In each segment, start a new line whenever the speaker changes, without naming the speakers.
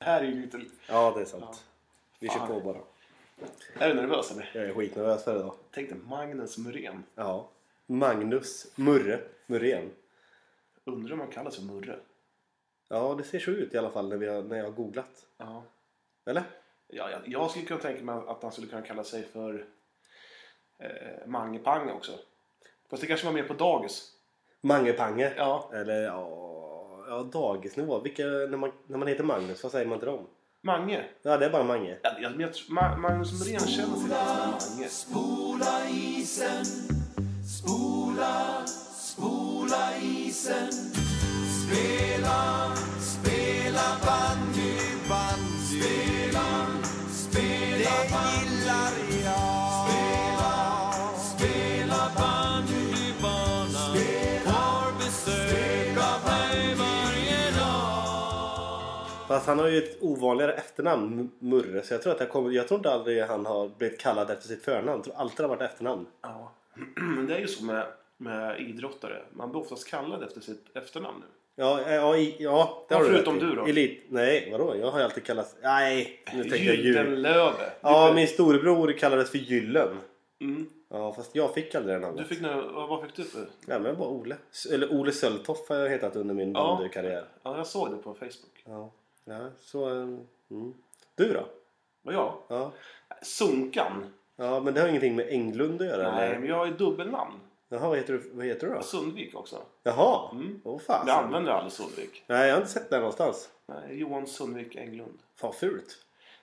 Det här är ju lite...
Ja, det är sant. Vi kör
Fan.
på bara.
Är du nervös eller?
Jag är skitnervös för idag.
Jag tänkte Magnus Muren.
Ja. Magnus Murre Murén.
Undrar om han kallas för Murre?
Ja, det ser så ut i alla fall när, vi har, när jag har googlat.
Ja.
Eller?
Ja, jag, jag skulle kunna tänka mig att han skulle kunna kalla sig för eh, Mange Pang också. Fast det kanske var mer på dagis.
Mange Pange.
Ja.
Eller ja... Ja, dagisnivå. Vilka, när, man, när man heter Magnus, vad säger man till dem?
Mange.
Ja, det är bara Mange.
Ja, jag, men jag, tror- Ma- Magnus Muren känner sig lite som en Mange.
Fast han har ju ett ovanligare efternamn, M- Murre. Så jag tror, att jag, kommer, jag tror inte aldrig han har blivit kallad efter sitt förnamn. Jag tror alltid det har varit efternamn.
Ja. Men det är ju så med, med idrottare. Man blir oftast kallad efter sitt efternamn nu.
Ja, eh, ja, ja, i- ja det
Ja,
har du
förutom
rätt i.
du då?
Elit. Nej, vadå? Jag har ju alltid kallats... Nej, nu tänker jag djur.
Gyldenlöve.
Ja, min storebror kallades för Gyllen.
Mm.
Ja, fast jag fick aldrig det
Du
namnet.
fick nu, vad vad fick du för?
Nej, men jag var Ole. S- Eller Ole Söltoff har jag hetat under min
Ja.
bandykarriär.
Ja, jag såg det på Facebook.
Ja. ja, så... eh, Mm. Du då?
Vad jag?
Ja.
Sunkan.
ja, men det har ingenting med Englund att göra?
Nej,
eller?
men jag har ju dubbelnamn.
Jaha, vad heter du, vad heter du då?
Sundvik också.
Jaha! Åh
Mm.
fan.
Jag använder aldrig Sundvik.
Nej, jag har inte sett det någonstans.
Nej, Johan Sundvik Englund.
Fan fult.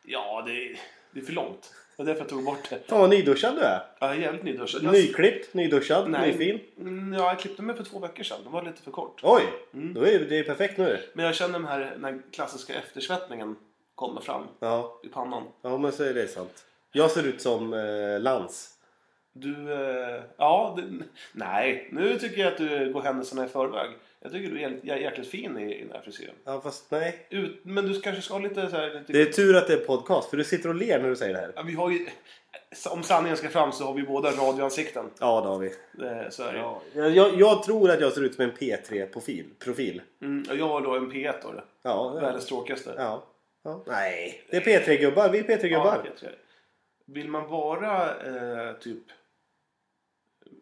Ja, det är, det är för långt. Det är därför jag tog bort det.
Fan vad nyduschad du är.
Jag är jävligt nyduschad. Jag-
Nyklippt, nyduschad,
Nej.
nyfin.
Mm, Ja, jag klippte mig för två veckor sedan. Den var lite för kort.
Oj!
Mm.
Då är det är perfekt nu.
Men jag känner den här, den här klassiska eftersvettningen kommer fram
Ja,
i pannan.
ja men så är det sant. Jag ser ut som eh, Lans.
Du, eh, ja, det, nej. Nu tycker jag att du går händelserna i förväg. Jag tycker du är jäkligt- jag är jäkligt fin i, i den här frisyren.
Ja, fast nej.
Ut, men du kanske ska ha lite så här... Lite,
Det är tur att det är podcast för du sitter och ler när du säger det här.
Ja, vi har ju, om sanningen ska fram så har vi båda radioansikten.
Ja, det har vi.
Eh, Så är det.
Ja, Jag, jag tror att jag ser ut som en P3-profil. Profil.
Mm, och jag har då en P1 då. det.
Ja, det-
Världens tråkigaste.
ja. ja. Nej, det är P3-gubbar. Vi är P3-gubbar.
Ja, P3. Vill man vara eh, typ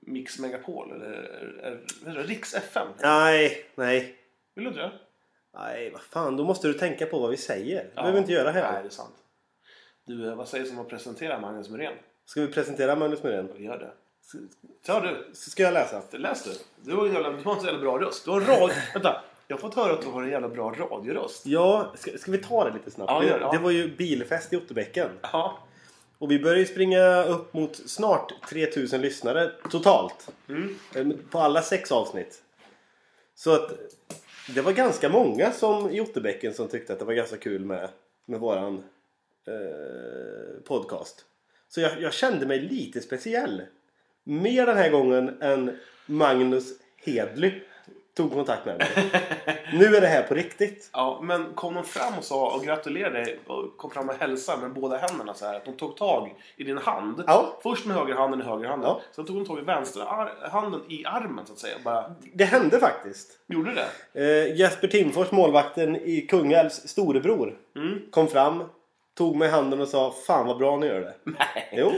Mix Megapol eller, eh, eller, eller Riks FM?
Nej, nej.
Vill du inte det?
Nej, vad fan. Då måste du tänka på vad vi säger. Det
Ja.
behöver vi inte göra
Nej,
här.
det är sant. Du, eh, vad sägs om att presentera Magnus Muren?
Ska vi presentera Magnus Muren?
Ja, Vi gör det. Ta du,
S- Ska jag läsa?
läs du. Du har, en jävla, du har en så jävla bra röst. Du har en rad... Vänta, jag har fått höra att du har en jävla bra radioröst.
Ja, ska, ska vi ta det lite snabbt?
Ja,
det,
gör det, ja.
det var ju bilfest i Otterbäcken.
Ja.
Och vi börjar ju springa upp mot snart 3000 lyssnare totalt.
Mm.
Eh, På alla sex avsnitt. Så att det var ganska många som i Otterbäcken som tyckte att det var ganska kul med, med våran eh, podcast. Så jag, jag kände mig lite speciell. Mer den här gången än Magnus Hedly tog kontakt med mig. nu är det här på riktigt.
Ja, men kom de fram och sa och gratulerade dig och kom fram och hälsade med båda händerna så här att de tog tag i din hand.
Ja.
Först med högerhanden i högerhanden.
Ja.
Sen tog de tag i vänsterhanden i armen så att säga. och Bara,
Det hände faktiskt.
gjorde det?
Eh, Jesper Timfors, målvakten i Kungälvs storebror,
Mm.
kom fram, tog mig i handen och sa Fan vad bra ni gör det.
Nej.
Jo,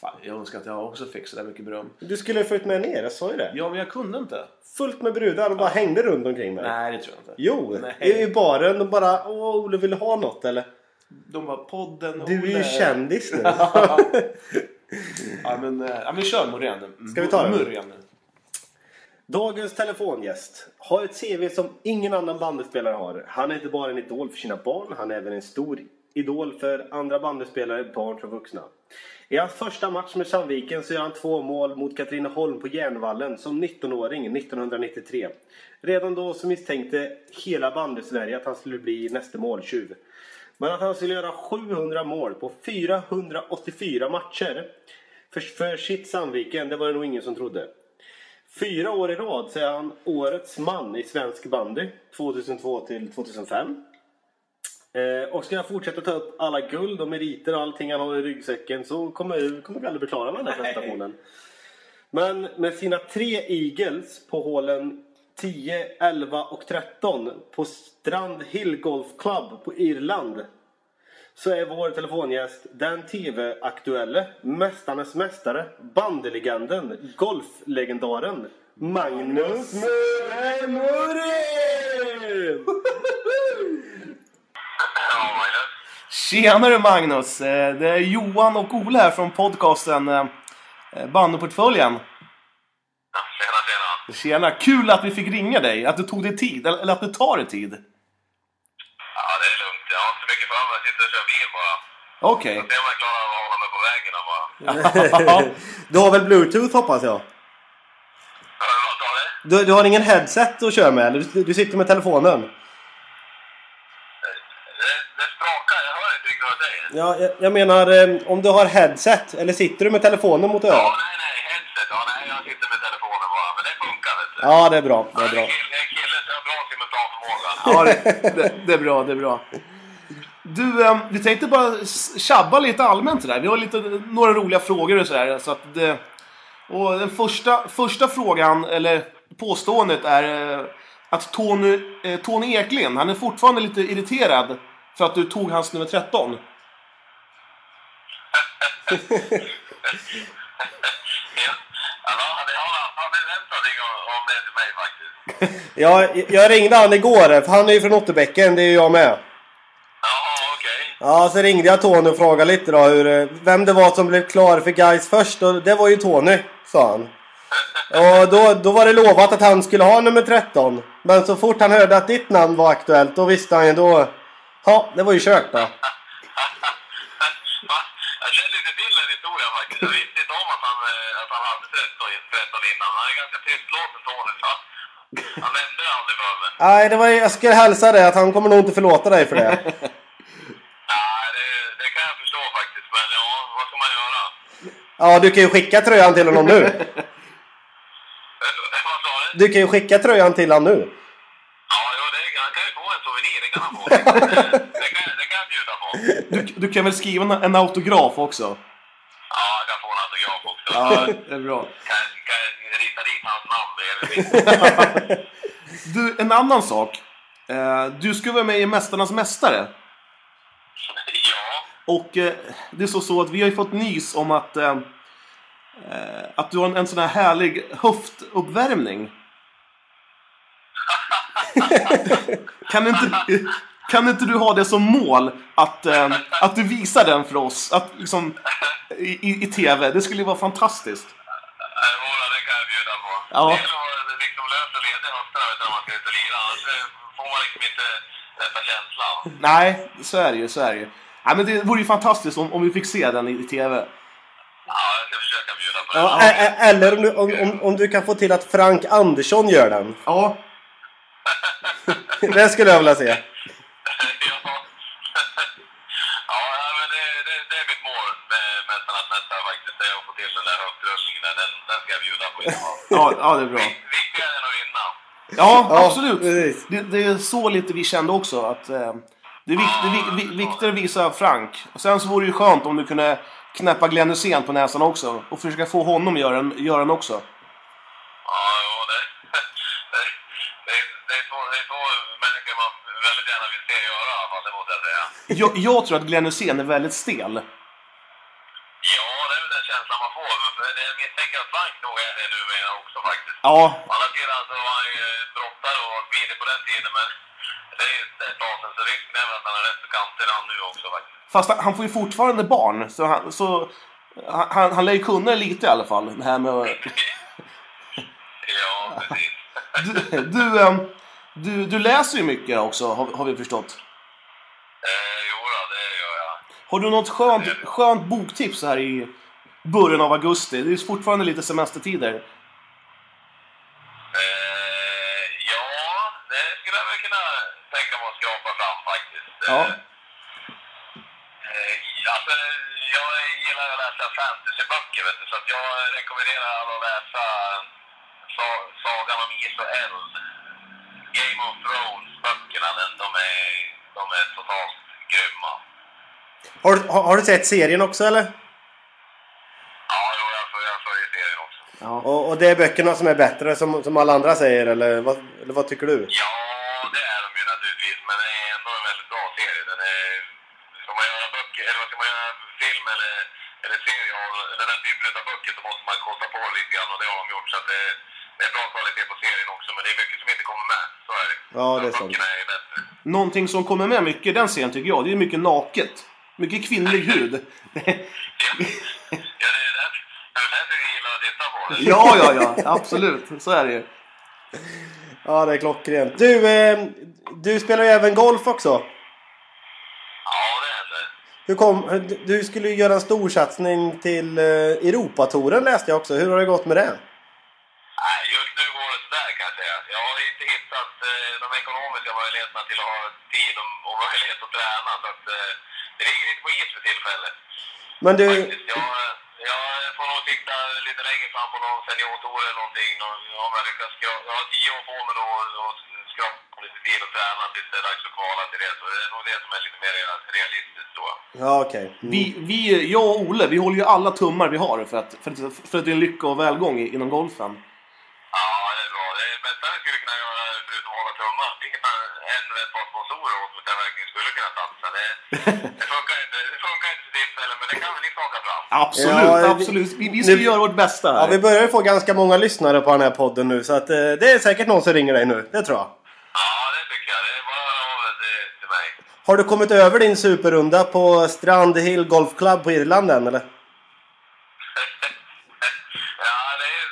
Fan, jag önskar att jag också fick så där mycket beröm.
du skulle ha följt med ner, jag sa ju det.
Ja, men jag kunde inte.
Fullt med brudar och bara hängde runt omkring mig.
Nej, det tror jag inte.
Jo,
Nej.
i i baren och bara Åh, Olle vill du ha något eller?
De var podden
Du är ju
Olle."
kändis nu.
ja, men, eh, ja, men kör Morén.
Ska vi ta den?
Murren nu.
Dagens telefongäst har ett CV som ingen annan bandespelare har. Han är inte bara en idol för sina barn, han är även en stor idol för andra bandespelare, barn som vuxna. I hans första match med Sandviken så gör han två mål mot Katrineholm på Järnvallen som 19-åring 1993. Redan då så misstänkte hela bandesverige att han skulle bli nästa måltjuv. Men att han skulle göra 700 mål på 484 matcher för, för sitt Sandviken, det var det nog ingen som trodde. Fyra år i rad så är han årets man i svensk bandy 2002 till 2005. Eh, och ska jag fortsätta ta upp alla guld och meriter och allting han har i ryggsäcken så kommer, kommer vi aldrig bli klara med den här prestationen. Men med sina tre eagles på hålen
10, 11 och 13 på Strand Hill Golf Club på Irland så är vår telefongäst den TV-aktuelle, Mästarnas Mästare, bandelegenden, golflegendaren Magnus Murre Murre!
Tjenare Magnus! Eh, Det är Johan och Ola här från podcasten eh, Bandyportföljen.
Ja, Tjena, tjena.
Tjena! Kul att vi fick ringa dig, att du tog dig tid, eller eller att du tar dig tid.
Ja, det är lugnt. Jag har inte så mycket för mig. Jag sitter och kör bil bara.
Okej.
Se om jag klarar av att hålla mig på vägen här bara.
du har väl bluetooth hoppas jag?
Hör du vad sa du?
Du, du har ingen headset att köra med? Eller du, du sitter med telefonen?
Det, det sprakar. Jag hör inte riktigt vad du säger.
Ja, jag, jag menar eh, om du har headset eller sitter du med telefonen mot
Ja,
örat?
nej, nej. Headset. Ja, nej. Jag sitter med telefonen bara. Men det funkar, vet du.
Ja, det är bra. Det
Jag
är
är
bra.
en kille, jag är en kille så jag har bra simultanförmåga.
Ja, det, det, det är bra, det är bra. Du, eh, vi tänkte bara s- tjabba lite allmänt sådär. Vi har lite, några roliga frågor och sådär. Så att det, och den första, första frågan, eller påståendet, är eh, att Tony, eh, Tony Eklind, han är fortfarande lite irriterad för att du tog hans nummer 13.
Ja. Ja, det har han- han har nämnt någonting om, om det till mig faktiskt.
Ja, jag- jag ringde han igår, för han är ju från Otterbäcken, det är ju jag med.
Jaha, okej.
Ja, så ringde jag Tony och frågade lite då hur, eh, vem det var som blev klar för guys först och det var ju Tony, sa han. Och då, då var det lovat att han skulle ha nummer 13. Men så fort han hörde att ditt namn var aktuellt, då visste han ju då... Ja, det var ju kört då.
Va? Jag känner inte till den historien faktiskt. Jag visste inte om att han, eh, att han hade 13 in- 13 innan. Han är ganska tystlåten Tony. så han- Han nämnde det aldrig för mig.
Nej, det var, jag skulle hälsa dig att han kommer nog inte förlåta dig för det.
Nej, det, det kan jag förstå faktiskt. Men ja, vad ska man göra?
Ja, du kan ju skicka tröjan till honom nu.
Eh, Vad sa du?
Du kan ju skicka tröjan till honom nu.
Ja, jo, det, han kan ju få en souvenir. Det kan han få. Det kan, det kan jag bjuda på.
Du, du kan väl skriva en, en autograf också?
Ja, jag kan få en autograf också.
Ja, det är bra.
Kan, kan jag rita dit hans namn bredvid mitt?
Du, en annan sak. Eh, Du ska vara med i Mästarnas Mästare.
Ja.
Och eh, det är så, så att vi har ju fått nys om att, eh, eh, att du har en, en sån här härlig höftuppvärmning. kan, inte, kan inte du ha det som mål att, eh, att du visar den för oss att, liksom, i, i, i TV? Det skulle ju vara fantastiskt.
Eh, Ola, det kan jag bjuda på.
Ja.
Det gäller att vara liksom lös och ledig i höfterna vet du, när man ska ut och lira. Annars eh, får man liksom inte rätta känslan.
Nej, så är det ju. Så är det, ju. Ja, men det vore ju fantastiskt om, om vi fick se den i, i TV.
Ja, jag ska försöka bjuda på det.
Ja, ä- ä- eller om du, om, om, om du kan få till att Frank Andersson gör den.
Ja,
Det skulle jag vilja se.
ja, ja men det, det, det är mitt mål med Mästarnas mästare faktiskt. Det är att få till den där höftrullningen. där. Den, den ska jag bjuda på.
ja, ja det är bra.
Viktigare än att vinna.
Ja,
Ja,
absolut.
precis.
Det, det är så lite vi kände också. Att, eh, det är vikt, det är vi- vi- viktigare att visa Frank. Och sen så vore det ju skönt om du kunde knäppa Glenn Hussein på näsan också. Och försöka få honom göra den, göra den också.
Ja, jo, det, det, det, det, är två, det är två människor man väldigt gärna vill se göra i alla fall. Det måste jag säga.
Jag, jag tror att Glenn Hussein är väldigt stel.
Ja, det är väl den känslan man får. Men det- Jag misstänker att Frank nog är det numera också faktiskt.
Ja,
Å andra sidan så var han ju brottare eh, och var smidig på den tiden. Men det är ju ett tag sedan, så risken är väl att han är rätt så kantig han nu också faktiskt.
fast han, han får ju fortfarande barn. Så han, så, han- han, han lär ju kunna det lite i alla fall. Det här med, att-
Ja, precis.
du, du, eh, du, du läser ju mycket också, har, har vi förstått.
Eh, jo då, det gör jag.
Har du något skönt, skönt boktips så här i början av augusti? Det är ju fortfarande lite semestertider.
Eh, ja, det skulle jag väl kunna tänka mig att skrapa fram faktiskt.
Ja.
Eh, alltså, jag gillar att läsa fantasyböcker, vet du, så att jag rekommenderar alla att läsa eh, Sa- Sagan om is och eld. Game of Thrones-böckerna, den- de är, de är totalt grymma.
Har, har, har du sett serien också eller?
Ja, jo, jag följer jag följer serien också.
Ja.
Och, och det är böckerna som är bättre som, som alla andra säger eller vad, eller vad tycker du?
Ja, det är de ju naturligtvis, men det är ändå en väldigt bra serie. Den är, ska man göra böcker, eller vad ska man göra film eller, eller serie av den här typen av böcker så måste man kosta på lite grann och det har de gjort. Så att det, det är bra kvalitet på serien också, men det är mycket som inte kommer med. Så är det.
Ja, det är sant.
Böckerna är bättre.
Någonting som kommer med mycket i den serien tycker jag, det är mycket naket. Mycket kvinnlig hud.
Ja, det är därför det är därför vi gillar att titta på det.
ja, ja, ja. Absolut. Så är det ju.
Ja, det är klockrent. Du, eh, du spelar ju även golf också.
Ja, det händer.
Hur kom, hur- du skulle ju göra en storsatsning till eh, Europatouren läste jag också. Hur har det gått med det?
Nej, just nu går det sådär kan jag säga. Jag har inte hittat eh, de ekonomiska möjligheterna till att ha tid och, och möjlighet att träna. Så att, eh, det ligger inte på is för tillfället.
Men du,
Faktiskt. Jag, jag får nog titta lite längre fram på någon seniortour eller någonting. Någon- Om jag, lyckas, skra- jag har tio år på mig då och- och skrapa lite tid och träna tills det är dags att kvala till det. Så det är nog det som är lite mer realistiskt tror jag.
ja okej. Mm.
Vi, vi, jag och Olle, vi håller ju alla tummar vi har för att, för att, för att det är en lycka och välgång i- inom golfen.
Ja, det är bra. Det bästa vi skulle kunna göra, förutom att hålla tummar, det är en, en eller ett par sponsorer åt mig som verkligen skulle kunna satsa. Det, det, funkar inte, det funkar inte för tillfället, men det kan väl ni skaka fram.
Absolut,
Ja, vi-
absolut. Vi, vi ska
nu-
göra vårt bästa här.
Ja, vi börjar ju få ganska många lyssnare på den här podden nu så att eh, det är säkert någon som ringer dig nu. Det tror jag.
Ja, det tycker jag. Det är bara att höra av er till, till mig.
Har du kommit över din superrunda på Strand Hill Golf Club på Irland än eller?
Ja, det är,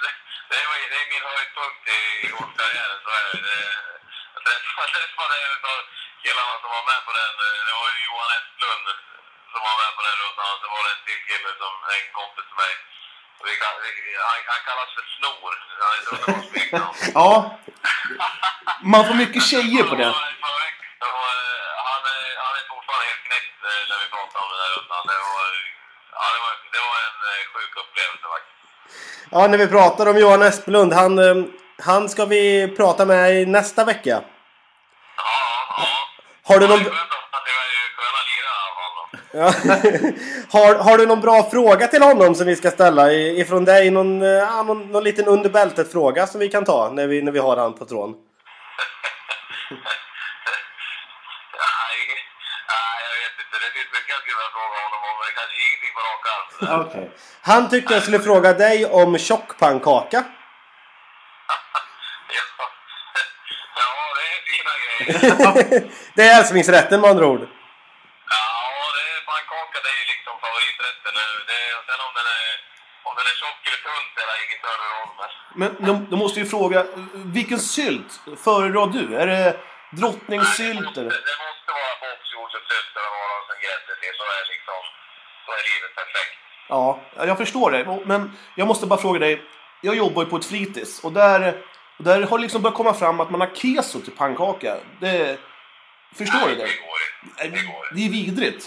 det är, det är min höjdpunkt i golfkarriären, så är det. Det- Jag träffade, träffade en av killarna som var med på den. Det var ju Johan Estlund som var med på den rundan och så var det en till kille som en kompis till mig. Och Vi kall, vi, han, han kallas för Snor. Han är ett underbart smeknamn.
Ja. Man får mycket tjejer på det.
Och, eh, Han, är- han är fortfarande helt knäckt eh, när vi pratar om den där rundan. Det var, ja, det var, det var en eh, sjuk upplevelse faktiskt.
Ja, när vi pratar om Johan Esplund, han, eh, han ska vi prata med i nästa vecka.
Ja, ja. ja.
Har du
Ja,
någon,
Det är skönt att det var ju sköna lirare i alla fall. då.
ja. har, har du någon bra fråga till honom som vi ska ställa i- ifrån dig? Någon, eh, ja, någon, någon liten under bältet-fråga som vi kan ta när vi, när vi har han på tråden?
Nej, nej, jag vet inte. Det finns mycket jag skulle vilja fråga honom om, men det kanske ingenting på rak arm.
Okej.
Han tyckte jag skulle fråga dig om tjockpannkaka.
Ja. ja, det är fina grejer.
det är älsklingsrätten med andra ord.
Ja, det är pannkaka. Det är ju liksom favoriträtten nu. Det är, och sen om den är, om den är tjock eller tunn spelar ingen större roll. Men,
Men de, de måste ju fråga, vilken sylt föredrar du? Är det drottningssylt
det,
eller?
det måste vara boxjordgubbssylt eller vad det som grädde till. Så är liksom, så är livet perfekt.
Ja, ja, jag förstår det. Men jag måste bara fråga dig. Jag jobbar ju på ett fritids och där, och där har det liksom börjat komma fram att man har keso till pannkaka. Det, förstår du det?
Det går inte. Det går inte.
Det är vidrigt.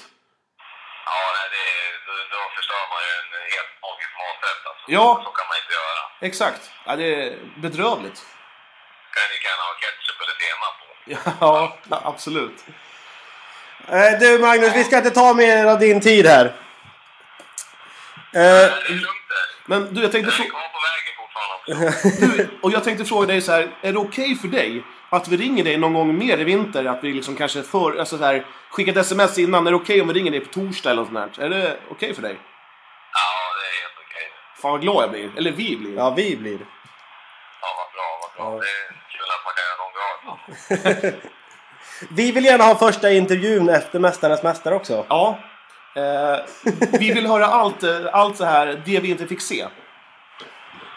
Ja, nej, det, då, då förstör man ju en helt magisk maträtt alltså.
Ja.
Så kan man inte göra.
Exakt. Ja, det är bedrövligt.
kan lika gärna ha ketchup eller senap på.
Ja, absolut.
Eh, du Magnus, vi ska inte ta mer av din tid här. Eh,
Det är lugnt det.
Men Äh, du, jag tänkte,
Jag
frå-
är kvar på vägen fortfarande också.
du, och jag tänkte fråga dig så här. Är det okej för dig att vi ringer dig någon gång mer i vinter? Att vi liksom kanske för, alltså så här, skickar ett sms innan. Är det okej om vi ringer dig på torsdag eller något sånt här? Är det okej för dig?
Ja, det är helt okej.
Fan vad glad jag blir. Eller vi blir.
ja, vi blir.
Ja, vad bra, vad bra. Det är kul att man kan göra någon glad.
Vi vill gärna ha första intervjun efter Mästarnas Mästare också.
Ja. Eh, vi vill höra allt, eh, allt så här, det vi inte fick se.
Ja,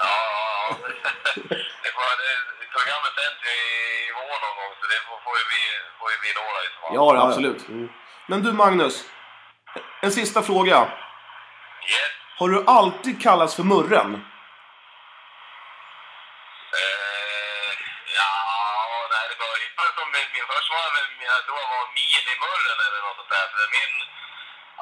ja, ja. Det får, det, programmet sänds ju i i vår någon gång, så det får, får, ju, bli, får ju bli då då i så fall.
Ja, Mm. det, absolut. Men du Magnus. En sista fråga.
Yes.
Har du alltid kallats för Murren?
Eh, ja, nej, det började som min, min först var väl, jag tror jag var minimurren eller något sånt där. För min,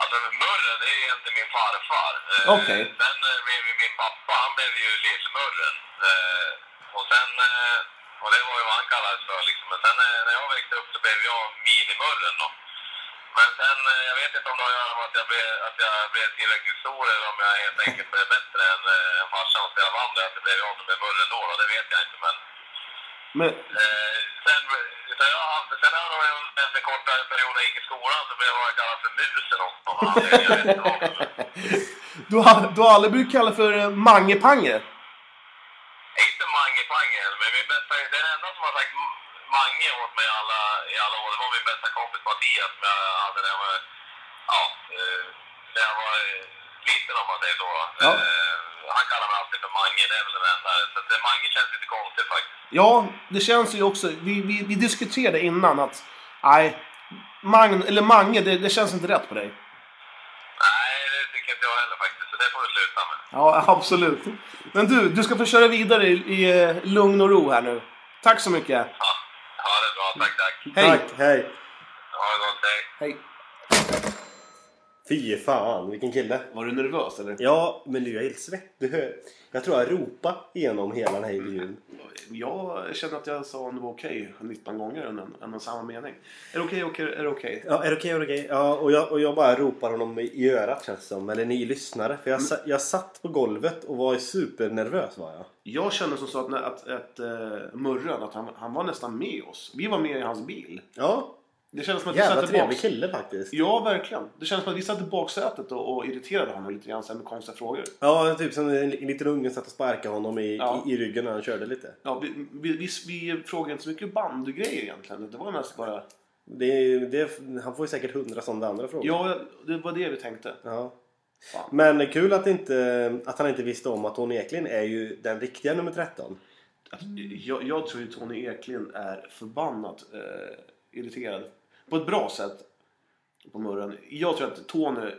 alltså murren, det är egentligen min farfar. Eh,
Okej.
Sen eh, blev ju min pappa, han blev ju lillmurren. Eh, och sen, eh, och det var ju vad han kallades för liksom. Men sen eh, när jag växte upp så blev jag minimurren då. Men sen, eh, jag vet inte om det har att göra med att jag blev, att jag blev tillräckligt stor eller om jag helt enkelt blev bättre än eh, än farsan och spelade vann det, att det blev jag som blev bullen då, då, det vet jag inte. Men,
Men,
eh, sen, sen, jag, hade- sen hade jag en kortare period när jag gick i skolan så blev jag kallad för musen också. av någon anledning, jag vet inte varför.
du, har, du har aldrig blivit kallad för eh, Mange Pange?
Inte Mange Pange, men min bästa, den enda som har sagt M- Mange åt mig alla, i alla år, det var min bästa kompis Mattias som jag hade när jag var, ja, eh, när jag var eh, liten om man säger så.
Ja.
Eh, han kallar mig alltid för Mange, det är väl den enda. Så att, eh, Mange känns lite konstigt faktiskt.
Ja, det känns ju också. Vi, vi, vi diskuterade innan att... Nej, Magn, eller Mange, det, det känns inte rätt på dig.
Nej, det tycker inte jag heller faktiskt, så det får vi sluta med.
Ja, absolut. Men du, du ska få köra vidare i, i eh, lugn och ro här nu. Tack så mycket.
Ja, ja det är bra. Tack, tack.
Hej.
Tack, hej.
Ha det gott, hej.
Hej.
Fy fan, vilken kille.
Var du nervös eller?
Ja, men nu är jag helt svettig. Jag tror jag ropade igenom hela den här intervjun.
Jag kände att jag sa om det var okej 19 gånger än, än samma mening. Är det okej, är det okej?
Ja, är det okej? är det okej? Ja, och jag, och jag bara ropar honom i- i örat känns det som. Eller ni lyssnare. För jag, sa, jag satt på golvet och var supernervös var jag.
Jag kände som så att, att, att eh, Murran, att han, han var nästan med oss. Vi var med i hans bil.
Ja,
Det kändes som att vi
jävla
satt tillbaka.
trevlig kille faktiskt.
Ja, verkligen. Det kändes som att vi satt i baksätet och, och irriterade honom lite grann så här med konstiga frågor.
Ja, typ som en en liten unge satt och sparkade honom i,
Ja.
i, i ryggen när han körde lite.
Ja, vi, vi, vi, vi frågade inte så mycket bandygrejer egentligen. Det var mest bara...
Det, det, han får ju säkert hundra sådana andra frågor.
Ja, det var det vi tänkte.
Ja.
Fan.
Men det är kul att, inte, att han inte visste om att Tony Eklund är ju den riktiga nummer 13.
Alltså, jag, jag tror ju Tony Eklind är förbannat eh, irriterad. På ett bra sätt. På Murran. Jag tror att Tony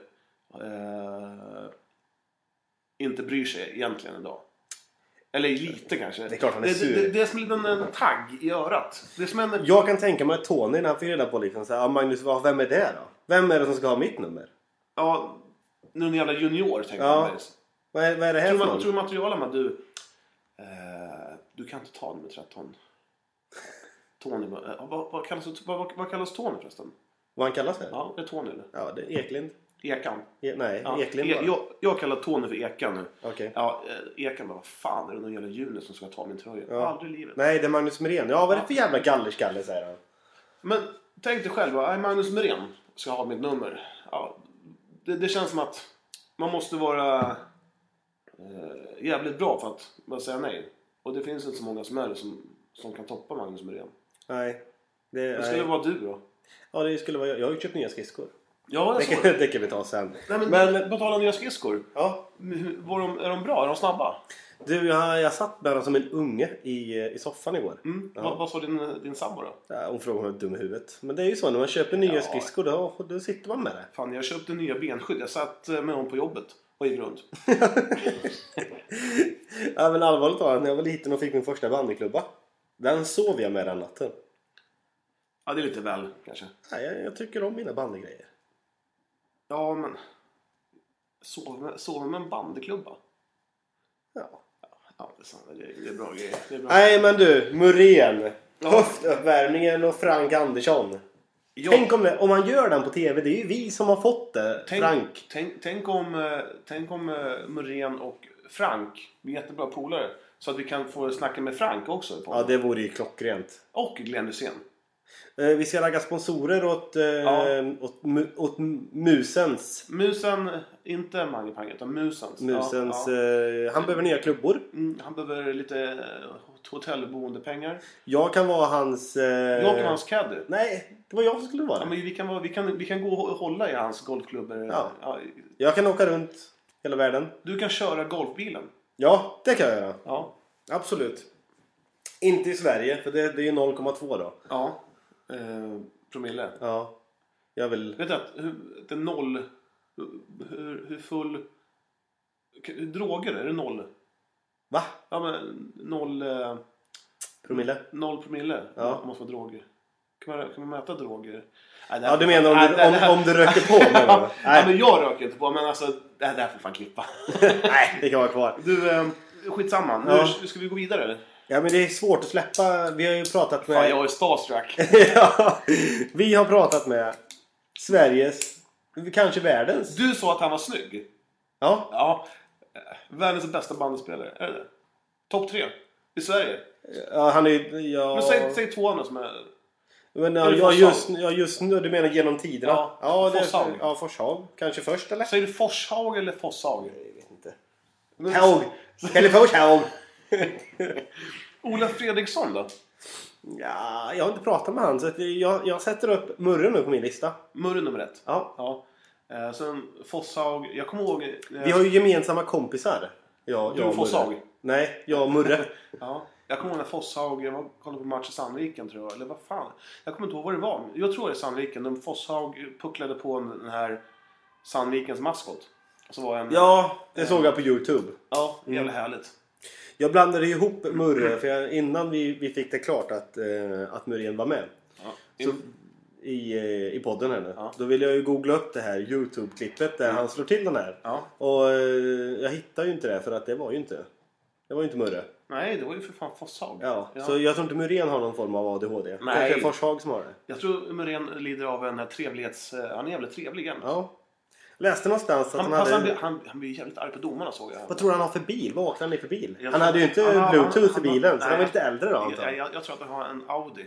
eh, inte bryr sig egentligen idag. Eller lite kanske.
Det är klart han är sur.
Det, det, det är som en liten en tagg i örat. Det är som en...
Jag kan tänka mig att Tony när han fick reda på liksom så här, "Ja, Magnus, vad- vem är det då? Vem är det som ska ha mitt nummer?
Ja, någon jävla junior tänker
Ja.
jag.
Vad är, vad är det här
Tror
för
man,
någon?
tror materialen att du... Eh, du kan inte ta nummer 13. Tony, bara, eh, vad, vad, kallas, vad, vad, vad kallas Tony förresten?
Vad han kallas för? Ja,
Ja, det är Tony eller?
det är Eklind.
Ekan.
E, nej,
Ja.
Eklind
E-
bara.
jag, jag kallar Tony för Ekan nu.
Okej.
Ja, eh, Ekan bara, vad fan är det någon jävla junior som ska ta min tröja?
Ja.
Aldrig i livet.
Nej, det är Magnus Myrén. Ja, vad är det för jävla gallerskalle säger han.
Men tänk dig själv, bara, "Nej, Magnus Myrén ska ha mitt nummer. Ja, det, det känns som att man måste vara eh, jävligt bra för att bara säga nej. Och det finns inte så många som är det som, som kan toppa Magnus Myrén.
Nej. Det,
Det skulle
nej.
vara du då.
Ja, det skulle vara jag. Jag har ju köpt nya skridskor.
Ja,
Det
jag såg
kan,
det.
det kan vi ta sen.
Nej, men,
Men-
på tal om nya skridskor.
Ja,
Hur- Var de, är de bra? Är de snabba?
Du, jag, jag satt med honom som en unge i, i soffan igår.
Mm.
Ja.
Vad, vad sa din, din sambo då?
Ja, hon frågade om jag var dum i huvudet. Men det är ju så, när man köper nya
Ja.
skridskor då, då sitter man med det.
Fan, jag köpte nya benskydd. Jag satt eh, med dem på jobbet och gick runt.
ja, men allvarligt talat, när jag var liten och fick min första bandyklubba. Den sov jag med den natten.
Ja, det är lite väl kanske.
Ja, jag, jag tycker om mina bandygrejer.
Ja, men... Sov med, sov med en bandyklubba?
Ja.
Ja, det är, sant. det, är- det är bra grejer. Det är bra.
Nej men du, Muren.
Ja.
Höftuppvärmningen och Frank Andersson.
Ja,
Tänk om, det, om man gör den på TV, det är ju vi som har fått det.
tänk,
Frank.
Tänk, tänk om, eh, tänk om eh, Muren och Frank blir jättebra polare. Så att vi kan få snacka med Frank också.
Ja, det vore ju klockrent.
Och Glenn Hysén.
Eh, Vi ska ragga sponsorer åt, eh,
Ja.
åt, mu- åt musens
Musen, inte Mange Pang, utan musens.
Musens,
Ja, ja.
Eh, han behöver nya klubbor.
Mm, han behöver lite eh, hotellboendepengar.
Jag kan vara hans... Eh,
Jag kan vara hans caddy.
Nej, det var jag som skulle vara
Ja,
det.
men vi, kan vara, vi, kan, vi kan gå och hålla i hans golfklubbor.
Ja.
Ja,
Jag kan åka runt hela världen.
du kan köra golfbilen.
Ja, det kan jag göra.
Ja.
Absolut. Inte i Sverige, för det, det är ju 0,2 då.
ja. Eh, promille.
Ja. Jag vill...
Vet du att hur, det är noll... Hur, hur full... hur- Droger, är det noll?
Va?
Ja, men noll, eh,
Promille?
noll promille
Ja.
måste vara droger. Kan man, kan man mäta droger? Nej, det här-
Ja, du menar om
Nej,
du,
det här-
om, om du röker på menar du?
Ja,
Nej,
men jag röker inte på, men alltså det här, det här får fan klippa.
nej, det kan vara kvar.
Du, eh, skitsamma. Nu
Ja.
ska vi gå vidare. eller?
Ja, men det är svårt att släppa. Vi har ju pratat
Fan,
med...
jag är starstruck.
ja, vi har pratat med Sveriges, kanske världens.
Du sa att han var snygg.
Ja,
Ja. Eh, Världens bästa bandespelare. Är det det? Topp tre? I Sverige?
Ja, han är ju- ja,
Men säg, säg två andra som är...
men,
är
ja,
det
ja,
Forshaug?
just, ja, just nu. Du menar genom tiderna?
Ja,
det,
Forshaug.
ja Forshaug. Kanske först eller?
Säger du Forshaug eller Fosshaug?
Jag vet inte.
Men-
Haug! Eller Forshaug!
Ola Fredriksson då?
Ja, jag har inte pratat med han så att jag, jag sätter upp Murre nu på min lista.
Murre nummer ett.
Ja.
Ja. Eh, sen Fosshaug. Jag kommer ihåg... eh,
Vi har ju gemensamma kompisar. Jag,
Du
jag och
Forshaug.
Murre. Nej, jag och Murre.
Ja. Jag kommer ihåg när Fosshaug, jag var, kollade på match i Sandviken tror jag, eller vad fan. Jag kommer inte ihåg vad det var. Jag tror det är Sandviken. De Fosshaug pucklade på en- den här Sandvikens maskot. Så var en...
ja, Mm. det såg jag på Youtube.
ja jävla härligt.
Jag blandade ihop Murre för jag, innan vi, vi fick det klart att, eh, att Murren var med.
Ja.
Så, i, eh, I podden här nu.
Ja. Mm.
Då ville jag ju googla upp det här Youtube-klippet där han slår till den här.
ja.
Och eh, jag hittar ju inte det för att det var ju inte Det var ju inte Murre.
Nej, det var ju för fan Fosshaug.
Ja. Så jag tror inte Murren har någon form av ADHD.
Nej.
Kanske Forshag som har det.
Jag tror Muren lider av en här trevlighets... eh, Han är jävligt trevlig han.
Ja. Läste någonstans att
Han,
han,
han, han,
hade...
blir- han, han blir jävligt arg på domarna såg jag.
Vad tror du han har för bil? Vad åkte han i för bil?
Jag
han hade ju inte
tror- han- han-
bluetooth
han-
i bilen, så
nej.
han var lite äldre då antar
jag,
jag.
jag, jag tror att han har en Audi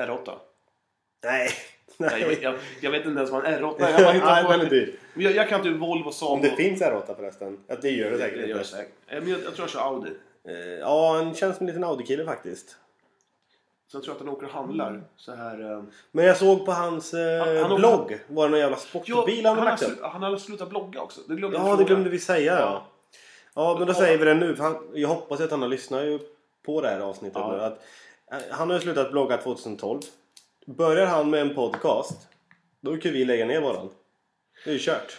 R8.
Nej.
Nej, jag, jag, jag vet inte ens vad en R8 är. Jag, bara
Nej,
hittar på-
den är dyr.
Men jag, jag kan inte Volvo, Saab...
Om det finns R8 förresten. Ja, det gör det säkert
Det gör
inte.
jag säkert. Eh, Men jag, jag tror jag kör Audi.
Eh, Ja, han känns som en liten Audi-kille faktiskt.
Sen tror jag att han åker och
Mm.
handlar så här... eh,
Men jag såg på hans eh,
Han- han åker-
blogg. Var det någon jävla
Ja,
sportbil han hade
har
lagt upp?
slu- han har slutat blogga också. Det glömde jag
Ja, det
fråga.
glömde vi säga ja. Ja, men då
Ja.
säger vi det nu. För han, jag hoppas att han har lyssnat ju på det här avsnittet
Ja.
nu. Att, eh, han har ju slutat blogga 2012. Börjar han med en podcast, då kan vi lägga ner våran. Det är ju kört.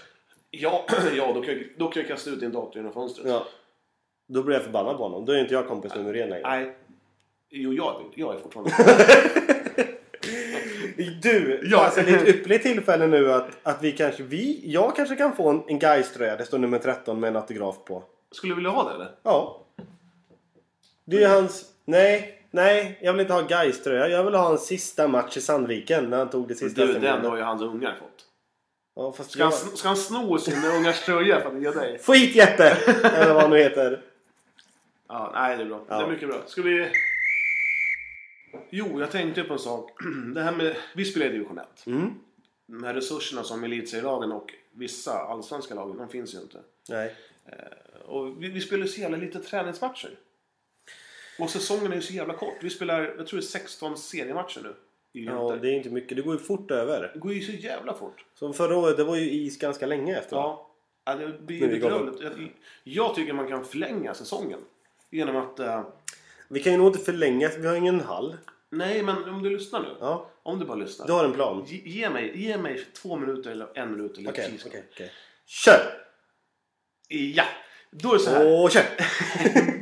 Ja, ja då, kan jag, då kan jag kasta ut din dator genom fönstret.
Ja. Då blir jag förbannad på honom. Då är inte jag kompis med Muren längre.
Nej. Jo, jag, jag är fortfarande...
Du,
Ja.
alltså det är ett ypperligt tillfälle nu att, att vi kanske, vi, jag kanske kan få en, en Gais-tröja. Det står nummer 13 med en autograf på.
Skulle du vilja ha det eller?
Ja. Det är ju hans... Nej, nej. Jag vill inte ha Gais tröja. Jag vill ha en sista match i Sandviken när han tog det sista
Du, den
SM-guldet.
har ju hans ungar fått.
Ja, fast
Ska,
jag...
han, sn- ska han sno sin ungars tröja för att ge dig?
Få hit Jeppe! Eller vad han nu heter.
Ja, nej, det är bra. Det
Ja.
är mycket bra. Ska vi... Jo, jag tänkte på en sak. Det här med... Vi spelar i division 1.
Mm.
De här resurserna som elitserielagen och vissa allsvenska lagen, de finns ju inte.
Nej.
Och vi, vi spelar ju så jävla lite träningsmatcher. Och säsongen är ju så jävla kort. Vi spelar, jag tror det är 16 seriematcher nu. I
Ja,
vinter.
det är inte mycket. Det går ju fort över.
det går ju så jävla fort.
Som förra året, det var ju is ganska länge efter.
Ja. ja det blir ju
Men vi går
bedrövligt. Jag, jag tycker man kan förlänga säsongen. Genom att... eh,
Vi kan ju nog inte förlänga, för vi har ingen hall.
nej, men om du lyssnar nu.
Ja.
Om du bara lyssnar.
Du har en plan?
Ge, ge, mig, ge mig två minuter eller en minut eller
Okej,
tio sekunder.
okej, okej. Kör!
Ja! Då är det så här.
Och kör!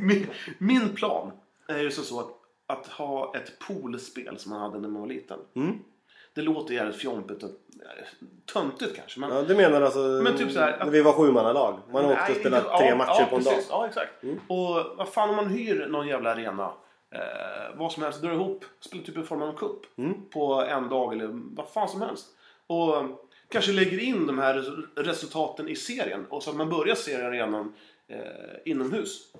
min, min plan är ju så, så att, att ha ett poolspel som man hade när man var liten.
Mm.
Det låter jävligt fjompigt och eh, töntigt kanske. Men,
Ja, du menar alltså
Men typ så här, att-
när vi var sjumannalag? Man
Nej,
åkte och
inte-
spelade tre
ja,
matcher
ja,
på en dag. Mm.
precis, Ja, exakt. Och vad fan om man hyr någon jävla arena. Eh, vad som helst, drar ihop, spelar typ en form av en cup.
Mm.
På en dag eller vad fan som helst. Och eh, kanske lägger in de här res- resultaten i serien. Och så att man börjar serien redan eh, inomhus.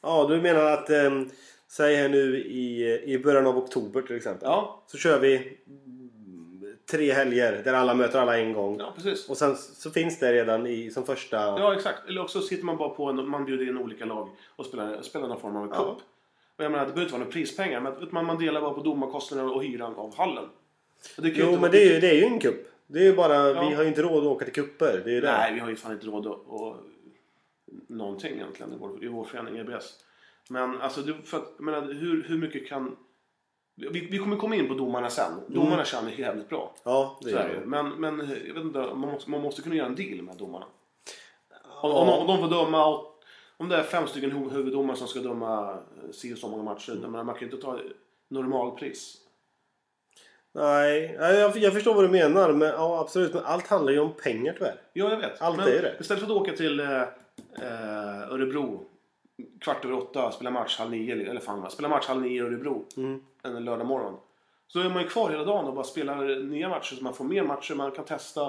Ja, du menar att ehm, säg här nu i, i början av oktober till exempel.
Ja,
Så kör vi mm, tre helger där alla möter alla en gång.
ja precis.
Och sen så finns det redan i, som första...
Ja, exakt. Eller också sitter man bara på en, man bjuder in olika lag och spelar, spelar någon form av en cup. Och jag menar, det behöver inte vara några prispengar, men att man, man delar bara på domarkostnaderna och hyran av hallen. Och det kan ju
jo,
inte-
men det är, ju, det är ju en kupp. Det är ju bara,
Ja.
vi har ju inte råd att åka till kupper. Det är ju det.
Nej, vi har ju fan inte råd att... Och, någonting egentligen i vår, i vår förening, EBS. Men alltså, det, för att, jag menar, hur, hur mycket kan... Vi, vi kommer komma in på domarna sen. Domarna känner jävligt bra.
Ja, Mm. det
Så
är
är
det
det. ju.
ju.
Men, men jag vet inte, man måste, man måste kunna göra en deal med domarna. Om, om, om de får döma åt, om det är fem stycken hu- huvuddomare som ska döma eh, si och så många matcher.
Mm.
Jag menar, man kan ju inte ta normalpris.
Nej, Nej, jag, jag förstår vad du menar. Men, ja, absolut. Men allt handlar ju om pengar tyvärr.
Ja, jag vet.
Allt
men
är det.
Istället för att åka till eh, eh, Örebro kvart över åtta, spela match halv nio, eller eller fan vad, spela match halv nio i Örebro
Mm.
en lördag morgon. Så är man ju kvar hela dagen och bara spelar nya matcher så man får mer matcher, man kan testa.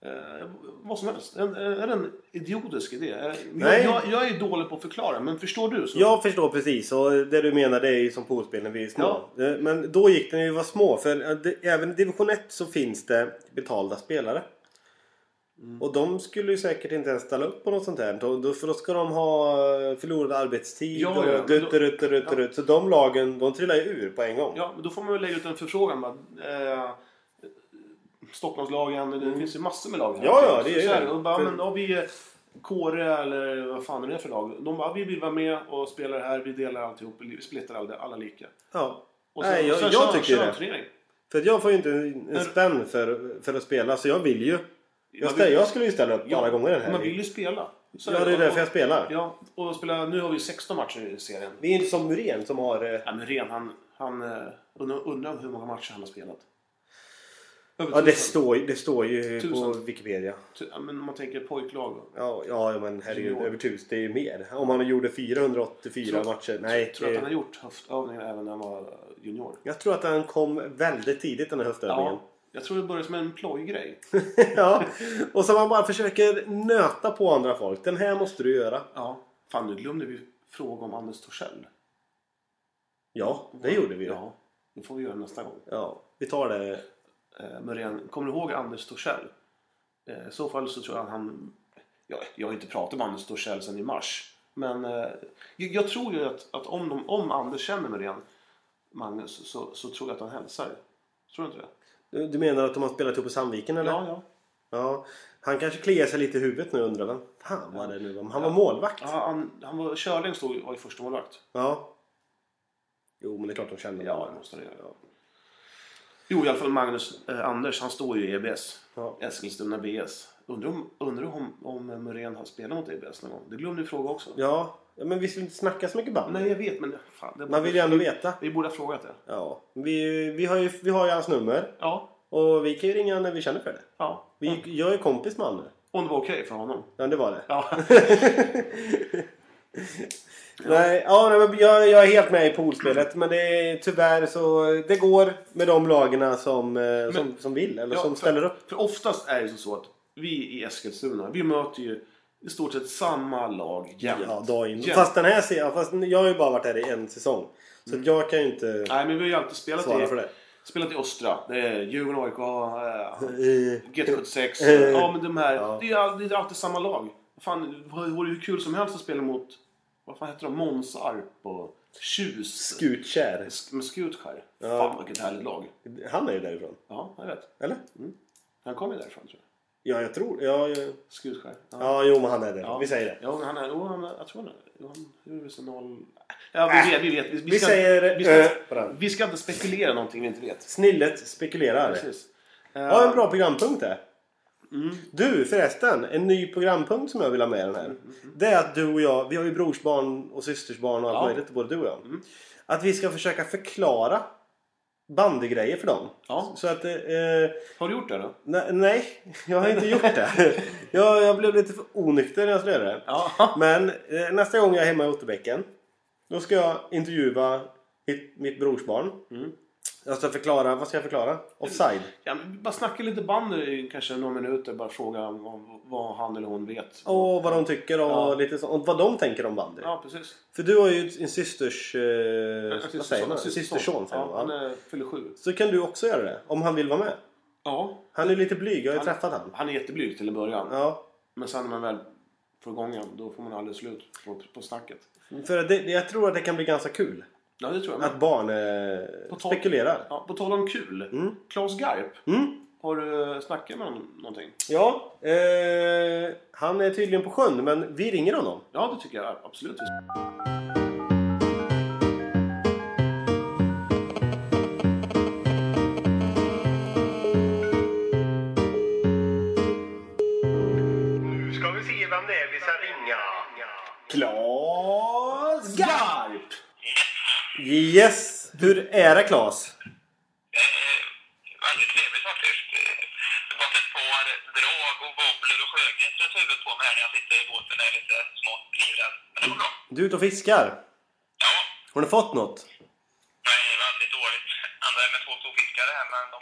Eh, vad som helst. En, är det en idiotisk idé? Eh, Jag,
Nej.
jag, jag är ju dålig på att förklara, men förstår du? Så?
Jag förstår precis och det du menar det är ju som polspel när vi är små. Eh, Men då gick det när vi var små för eh, det- även i division 1 så finns det betalda spelare.
Mm.
Och de skulle ju säkert inte ens ställa upp på något sånt här. Då- då- För då ska de ha eh, förlorad arbetstid
Ja,
och
ja,
ja,
men då-
dutt, dutt, dutt, dutt. Så de lagen de trillar ju ur på en gång.
Ja, men då får man väl lägga ut en förfrågan. Bara, eh, Stockholmslagen, det finns ju massor med lag här.
Mm. Ja, ja, det
Så
är
här,
det.
Och bara, men har vi eh, Kåre eller vad fan är det för lag? De bara, vi vill vara med och spela det här, vi delar alltihop, vi splittar alla, alla lika.
Ja.
Och sen,
Nej, jag,
och sen
jag
kör-
tycker
kör en
det.
turnering.
För att jag får ju inte en, en spänn för, för att spela så jag vill ju. Jag,
Man
ställer,
vill-
jag skulle ju ställa upp alla gånger den här
Man
ligan.
vill ju spela. Så
Ja, det är
och-
därför jag spelar.
Ja, och spela, nu har vi 16 matcher i serien.
Vi är inte som Muren som har... eh,
Ja, men Ren, han, han eh, undrar, undrar hur många matcher han har spelat. Över
Ja, det
tusen.
står, ju- det står ju på
Tusen.
Wikipedia.
Tu- ja, Men om man tänker pojklag då.
Ja, ja ja, men herregud.
Junior.
Över tusen, det är ju mer. Om han gjorde 484 matcher. Nej,
Tror du att
eh,
han har gjort höftövningar även när han var junior?
jag tror att han kom väldigt tidigt den här höftövningen.
Ja, jag tror det började som en plojgrej.
Ja. Och så man bara försöker nöta på andra folk. Den här måste du göra.
Ja. Fan, nu glömde vi fråga om Anders Torssell.
Ja, det gjorde vi ju. Ja.
Ja, det får vi göra nästa gång.
vi tar det.
Eh, Muren, kommer du ihåg Anders Torssell? Eh, I så fall så tror jag han... Jag, jag har inte pratat med Anders Torssell sedan i mars. Men eh, jag, jag tror ju att, att om, de, om Anders känner Muren, Magnus, så, så tror jag att han hälsar. Tror du inte det?
Du du menar att de har spelat ihop i Sandviken eller?
Ja, ja.
Ja. Han kanske kliar sig lite i huvudet nu undrar vem fan var det nu var? Han var målvakt.
ja han, han var, Körling stod, var ju första målvakt.
Ja. Jo, men det är klart de känner
Ja, det måste han göra. Jo, i alla fall Magnus eh, Anders, han står ju i EBS.
Ja.
Eskilstuna BS. Undrar om, undrar om, om Muren har spelat mot EBS någon gång? Det glömde vi fråga också.
Ja, ja, men vi skulle inte snacka så mycket bandy.
Nej, jag vet, men fan. Det
Man vill ju ändå veta.
Vi borde ha frågat det.
Ja, vi, vi, har ju, vi har ju hans nummer
Ja,
och vi kan ju ringa när vi känner för det.
ja.
Vi, jag är kompis med honom nu.
Om det var okej för honom.
Ja, det var det.
Ja.
Nej, ja, nej, men jag, jag är helt med i poolspelet men det är, tyvärr så det går med de lagarna som, eh, som, som vill eller
Ja,
som
för-
ställer upp.
För oftast är det ju så att vi i Eskilstuna, vi möter ju i stort sett samma lag jämt.
Ja, dag in.
Jämt.
Fast den här serien, fast jag har ju bara varit här i en säsong. Så
Mm.
att jag kan ju inte
Nej, men vi har ju alltid spelat
svara
i,
för det.
spelat i Östra. Det är Djurgården, AIK, eh,
Eh,
GT76.
Eh.
ja, men de här.
Ja.
Det, är, ju all- det är alltid samma lag. Fan, det vore ju hur kul som helst att spela mot... Vad fan heter de? Månsarp och Tjus.
Skutkär.
Sk- med Skutskär.
Ja.
Fan vilket härligt lag.
Han är ju därifrån.
Ja, jag vet.
Eller?
Han kommer ju därifrån tror jag.
Ja, jag tror ja, jag,
Skutskär.
ja, jo men han är därifrån.
Ja.
Vi säger det.
Ja, men han är... Jo, han är... Jag tror han är... Jo, han gjorde väl så noll... Ja, vi vet. Vi, vet. vi,
Äh, Vi säger,
vi, ska,
eh, på den.
vi ska inte spekulera någonting vi inte vet.
Snillet spekulerar.
Precis.
Ja, en bra programpunkt det. Du förresten, en ny programpunkt som jag vill ha med i den här. Det är att du och jag, vi har ju brorsbarn och systersbarn och allt
Ja.
möjligt, både du och jag. Att vi ska försöka förklara bandygrejer för dem.
Ja.
Så att, eh,
Har du gjort det då?
ne- nej, jag har inte gjort det. jag, jag blev lite för onykter när jag skulle göra det.
Ja.
Men eh, nästa gång jag är hemma i Otterbäcken då ska jag intervjua mitt, mitt brorsbarn. Jag ska förklara, vad ska jag förklara? Offside.
Ja, men vi bara snacka lite band i kanske några minuter. Bara fråga vad, vad han eller hon vet.
Och vad de tycker och,
Ja.
lite så, och vad de tänker om bandy.
Ja, precis.
För du har ju en systers... Eh, vad säger
Systerson.
man? Systerson säger
Ja, han
man. va?
är, fyller sju.
Så kan du också göra det. Om han vill vara med.
Ja.
Han är lite blyg. Jag har ju
Han-
träffat han.
Han är jätteblyg till en början.
Ja.
Men sen när man väl får igång honom, då får man aldrig slut på, på snacket.
För det, jag tror att det kan bli ganska kul.
Ja, det tror jag.
Att
Men,
barn eh,
På tal-
spekulerar.
ja, på tal om kul.
Mm.
Claes Garp.
Mm.
Har du snackat med honom någonting?
Ja. Eh, han är tydligen på sjön men vi ringer honom.
Ja, det tycker jag absolut.
Nu ska vi se vem det är vi ska ringa. Klas Garp!
Yes! Hur är det Claes?
Eh, Väldigt trevligt faktiskt. Eh, Det har ett par drag och bobblor och sjögräs runt huvudet på mig här när jag sitter i båten och är lite smått livrädd. Men det går bra.
Du är ute och fiskar.
Ja,
Har du fått något?
nej, väldigt dåligt. Andra är med två storfiskare här men, de,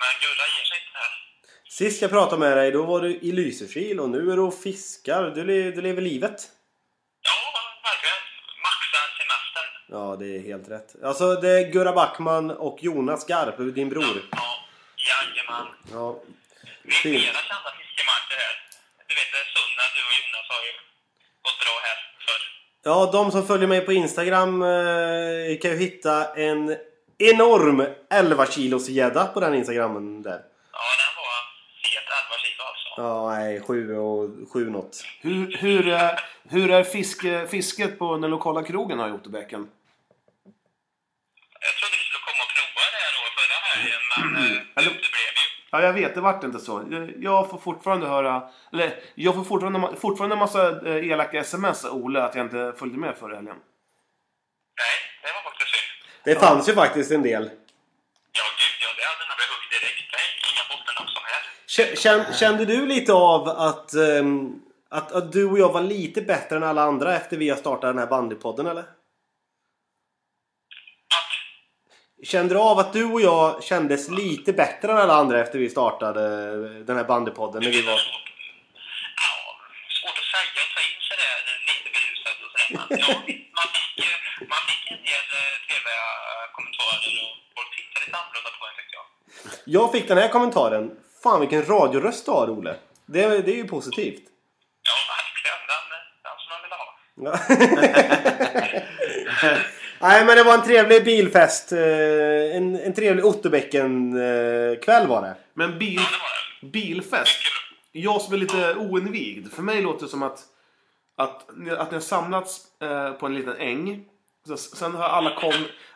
men Gurra ger sig inte här.
Sist jag pratade med dig, då var du i Lysekil och nu är du och fiskar. Du, le- du lever livet.
Ja, verkligen. Maxar semestern.
Ja, det är helt rätt. Alltså, det är Gurra Backman och Jonas Garp, din bror.
Ja, jajamän.
Ja,
Vi är
Fint.
flera kända fiskemarker här. Du vet, Sunna, du och Jonas har ju gått bra här förr.
ja de som följer mig på Instagram eh, kan ju hitta en enorm 11 kilos gädda på den Instagramen där.
Ja, den var fet 11 kilo alltså.
Ja, nej, sju och sju något.
Hur, hur, är- hur är fiske, fisket på den lokala krogen här i Otterbäcken?
Jag trodde du skulle komma och prova det här då förra helgen, men
Mm.
eh, det uteblev ju.
Ja, jag vet. Det vart inte så. Jag- Jag får fortfarande höra... Eller, jag får fortfarande, fortfarande en massa eh, elaka sms av Ola att jag inte följde med förra helgen.
Nej, det var faktiskt synd.
Det fanns ju faktiskt en del.
Ja, gud ja, det hade nog blivit hugg direkt. Nej, inga bottennapp som helst.
Kä- kän- Kände du lite av att, ehm, att, att du och jag var lite bättre än alla andra efter vi har startat den här bandypodden eller?
Att,
Kände du av att du och jag kändes lite bättre än alla andra efter vi startade eh, den här bandypodden? När vi var...
ja, svårt att säga och ta in sig där lite berusad och sådär. Men ja, man fick, eh, man fick en del eh, trevliga kommentarer och folk tittade lite annorlunda på en tyckte jag.
Jag fick den här kommentaren. Fan vilken radioröst du har Ole. Det, det är ju positivt.
Ja, verkligen. Den, eh, den som man ville ha.
Ja. Nej men det var en trevlig bilfest. eh, En, en trevlig Otterbäcken-kväll var det.
Men bil,
Det var det.
bilfest? Jag som är lite oinvigd. För mig låter det som att, att, ni- att ni har samlats eh, på en liten äng. Så, sen har alla, kom,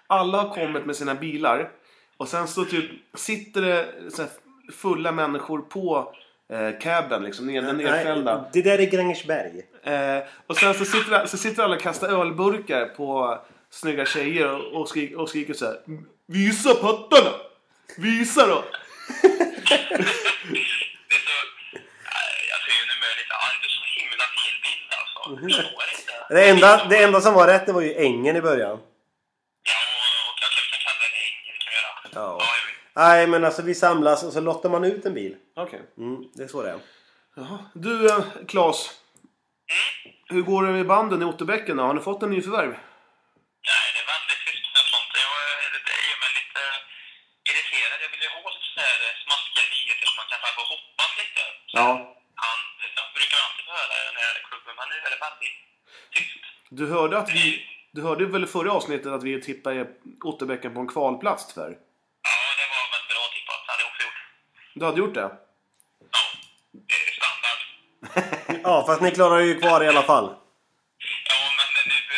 alla har kommit med sina bilar. Och sen så typ sitter det så här, fulla människor på eh, caben, liksom, ner, den nedfällda.
Nej, Det där är Grängesberg.
Eh, och sen så sitter, så sitter alla och kastar ölburkar på snygga tjejer och, och, skrik, och skriker så här. Visa pattarna! Visa då!
Det är så... Nej, Jag ser ju nu med lite arg. Du är så himla fel bild alltså.
Mhm.
Det går inte.
Det enda, det enda som var rätt det var ju ängen i början.
Ja, och jag kanske kan kalla det en äng. Det kan jag göra.
Ja.
jag vet.
Nej men alltså vi samlas och så lottar man ut en bil.
Okej.
Mm, det är så det är.
Jaha. Du eh, Claes.
Mm.
Hur går det med banden i Otterbäcken då? Har ni fått en ny förvärv?
Nej, det är väldigt tyst med sånt. Jag är lite, jag är mig lite irriterad. Jag vill ju ha lite så här smaskiga nyheter som man kan få hoppas lite.
Ja.
Han, jag brukar alltid få höra i den här klubben, men nu är det väldigt tyst.
Du hörde att vi... Du hörde väl i förra avsnittet att vi tippade Otterbäcken på en kvalplats tyvärr?
Ja, det var väl bra typ tippat. Det hade jag också gjort.
Du hade gjort det?
Ja, det är standard.
Ja fast ni klarar ju kvar i alla fall.
Ja, men nu...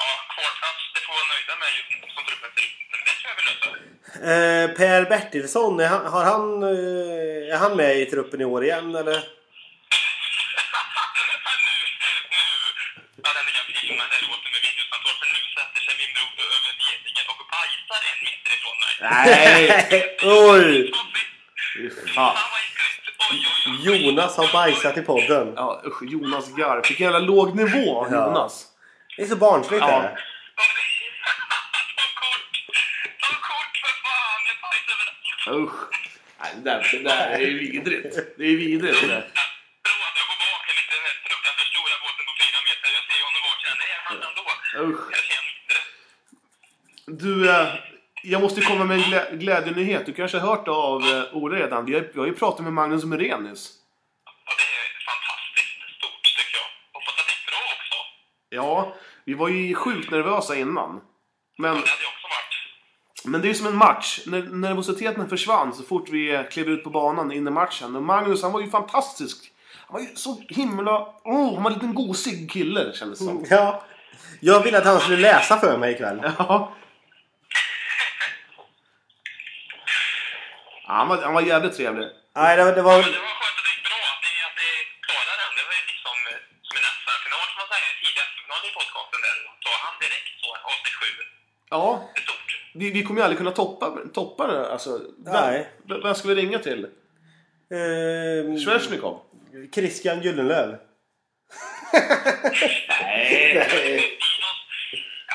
Ja, kvalplats, det får vara nöjda med just nu som truppen ser ut. Men det tror jag vi löser.
Eh, per Bertilsson, är han, har han, eh, är han med i truppen i år igen eller?
Ja, den lilla filmen där låten med videosamtal. För nu sätter sig min bror över getingen och bajsar en meter ifrån mig.
Nej!
Oj!
Fan.
Fan vad äckligt! Oj, oj, oj.
Jonas har bajsat i podden.
Ja, usch, Jonas Garp. Vilken jävla låg nivå av
Ja.
Jonas.
Det är så barnsligt det
Ja.
här.
Ta kort! Ta kort för fan! Jag bajsar överallt.
Usch. Nej, det där, det där är ju vidrigt. Det är vidrigt det där.
Förlåt, jag går bak. Jag är lite rädd. fruktansvärt stora båten på fyra meter. Jag ser honom vart jag än är. Han ändå.
Usch.
Jag ser honom inte.
Du, eh, jag måste ju komma med en glä, glädjenyhet. Du kanske har hört av eh, Ola redan. Vi har, vi har ju pratat med Magnus Muren nyss.
Ja, det är fantastiskt stort tycker jag. Hoppas att det är bra också.
Ja, vi var ju sjukt nervösa innan. Men,
Det hade jag också varit.
men det är ju som en match. När nervositeten försvann så fort vi eh, klev ut på banan in i matchen. Och Magnus, han var ju fantastisk. Han var ju så himla... Oh, han var en liten gosig kille kändes det som.
Ja. Jag ville att han skulle läsa för mig ikväll.
Ja. Ja, Han var, han var jävligt trevlig.
Nej det, det
Men
var... eh,
det var skönt att det gick bra, att ni, att ni klarade den. Det var ju liksom eh, som en SM-final, som man säger. Tidig SM-final i podcasten där. Då han direkt så, avsnitt 7.
Ja,
Det är stort.
vi, vi kommer ju aldrig kunna toppa, toppa det. Alltså, vem,
Nej.
vem vem ska vi ringa till?
Ehm,
Svesjnikov?
Christian Gyllenlöv.
Dinos,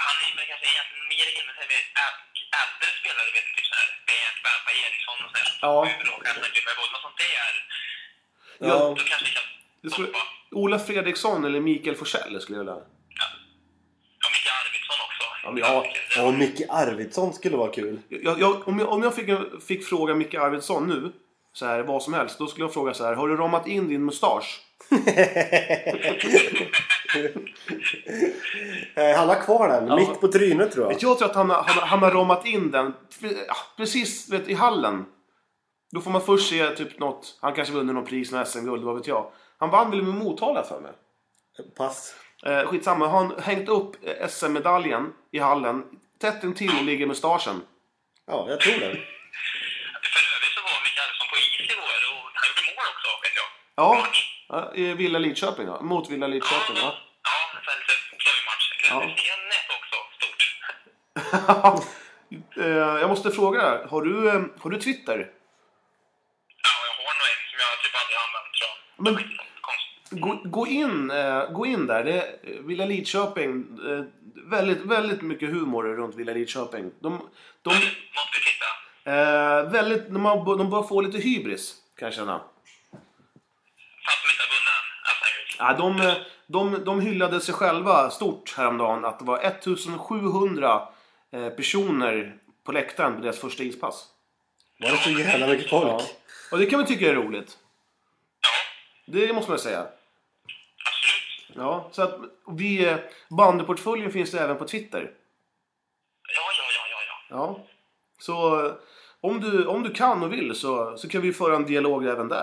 han är väl kanske egentligen mer inne med äldre spelare, vet du, typ såhär Bernt Bernt Eriksson och sånt där.
Ja.
Det är bra, kanske man glömmer bort. Men sånt där,
Ja.
då kanske vi kan
Det skulle,
stoppa.
Ola Fredriksson eller Mikael Forsell skulle jag vilja...
Ja, Micke Arvidsson också.
Ja, men ja.
Det-
Ja, Micke Arvidsson skulle vara kul.
Jag, jag, om jag, om jag fick, fick fråga Micke Arvidsson nu, så här, vad som helst, då skulle jag fråga så här. Har du ramat in din mustasch?
Eh, Han har kvar den.
Ja.
Mitt på trynet tror jag.
Vet, jag tror att han, har- han, har- han har ramat in den pre- ja, precis vet, i hallen. Då får man först se typ något, han kanske vunnit något pris, något SM-guld, vad vet jag. Han vann väl med Motala för mig.
Pass.
Eh, skitsamma, har han hängt upp eh, SM-medaljen i hallen. Tätt intill ligger mustaschen.
Ja, jag tror det.
För övrigt så var Micke Arvidsson på is igår och han gjorde mål också, vet jag.
Ja, ja, i Villa Lidköping ja. Mot Villa Lidköping ja.
Ja, typ så här lite plojmatch.
Ja.
Stennet också, stort.
Eh, jag måste fråga dig, har du, eh, har du Twitter?
Ja, jag har nog en som jag typ aldrig använt, tror jag.
Men-
Det var inte något konstigt.
Gå, gå, in, eh, gå in där. Det är eh, Villa Lidköping. Eh, väldigt, väldigt mycket humor runt Villa Lidköping. De, de,
Måste vi titta.
eh, väldigt, de, har, de bör få lite hybris, kan jag känna.
Fast de inte har vunnit än.
Ja,
Alltså,
de, eh, de, de hyllade sig själva stort häromdagen att det var 1700 eh, personer på läktaren på deras första ispass.
Var det så jävla mycket folk?
Och det kan man tycka är roligt.
ja,
Det måste man säga.
absolut.
Ja, så att vi, eh, bandyportföljen finns det även på Twitter.
Ja, ja, ja, ja, ja.
Ja. Så eh, om du, om du kan och vill så, så kan vi föra en dialog även där.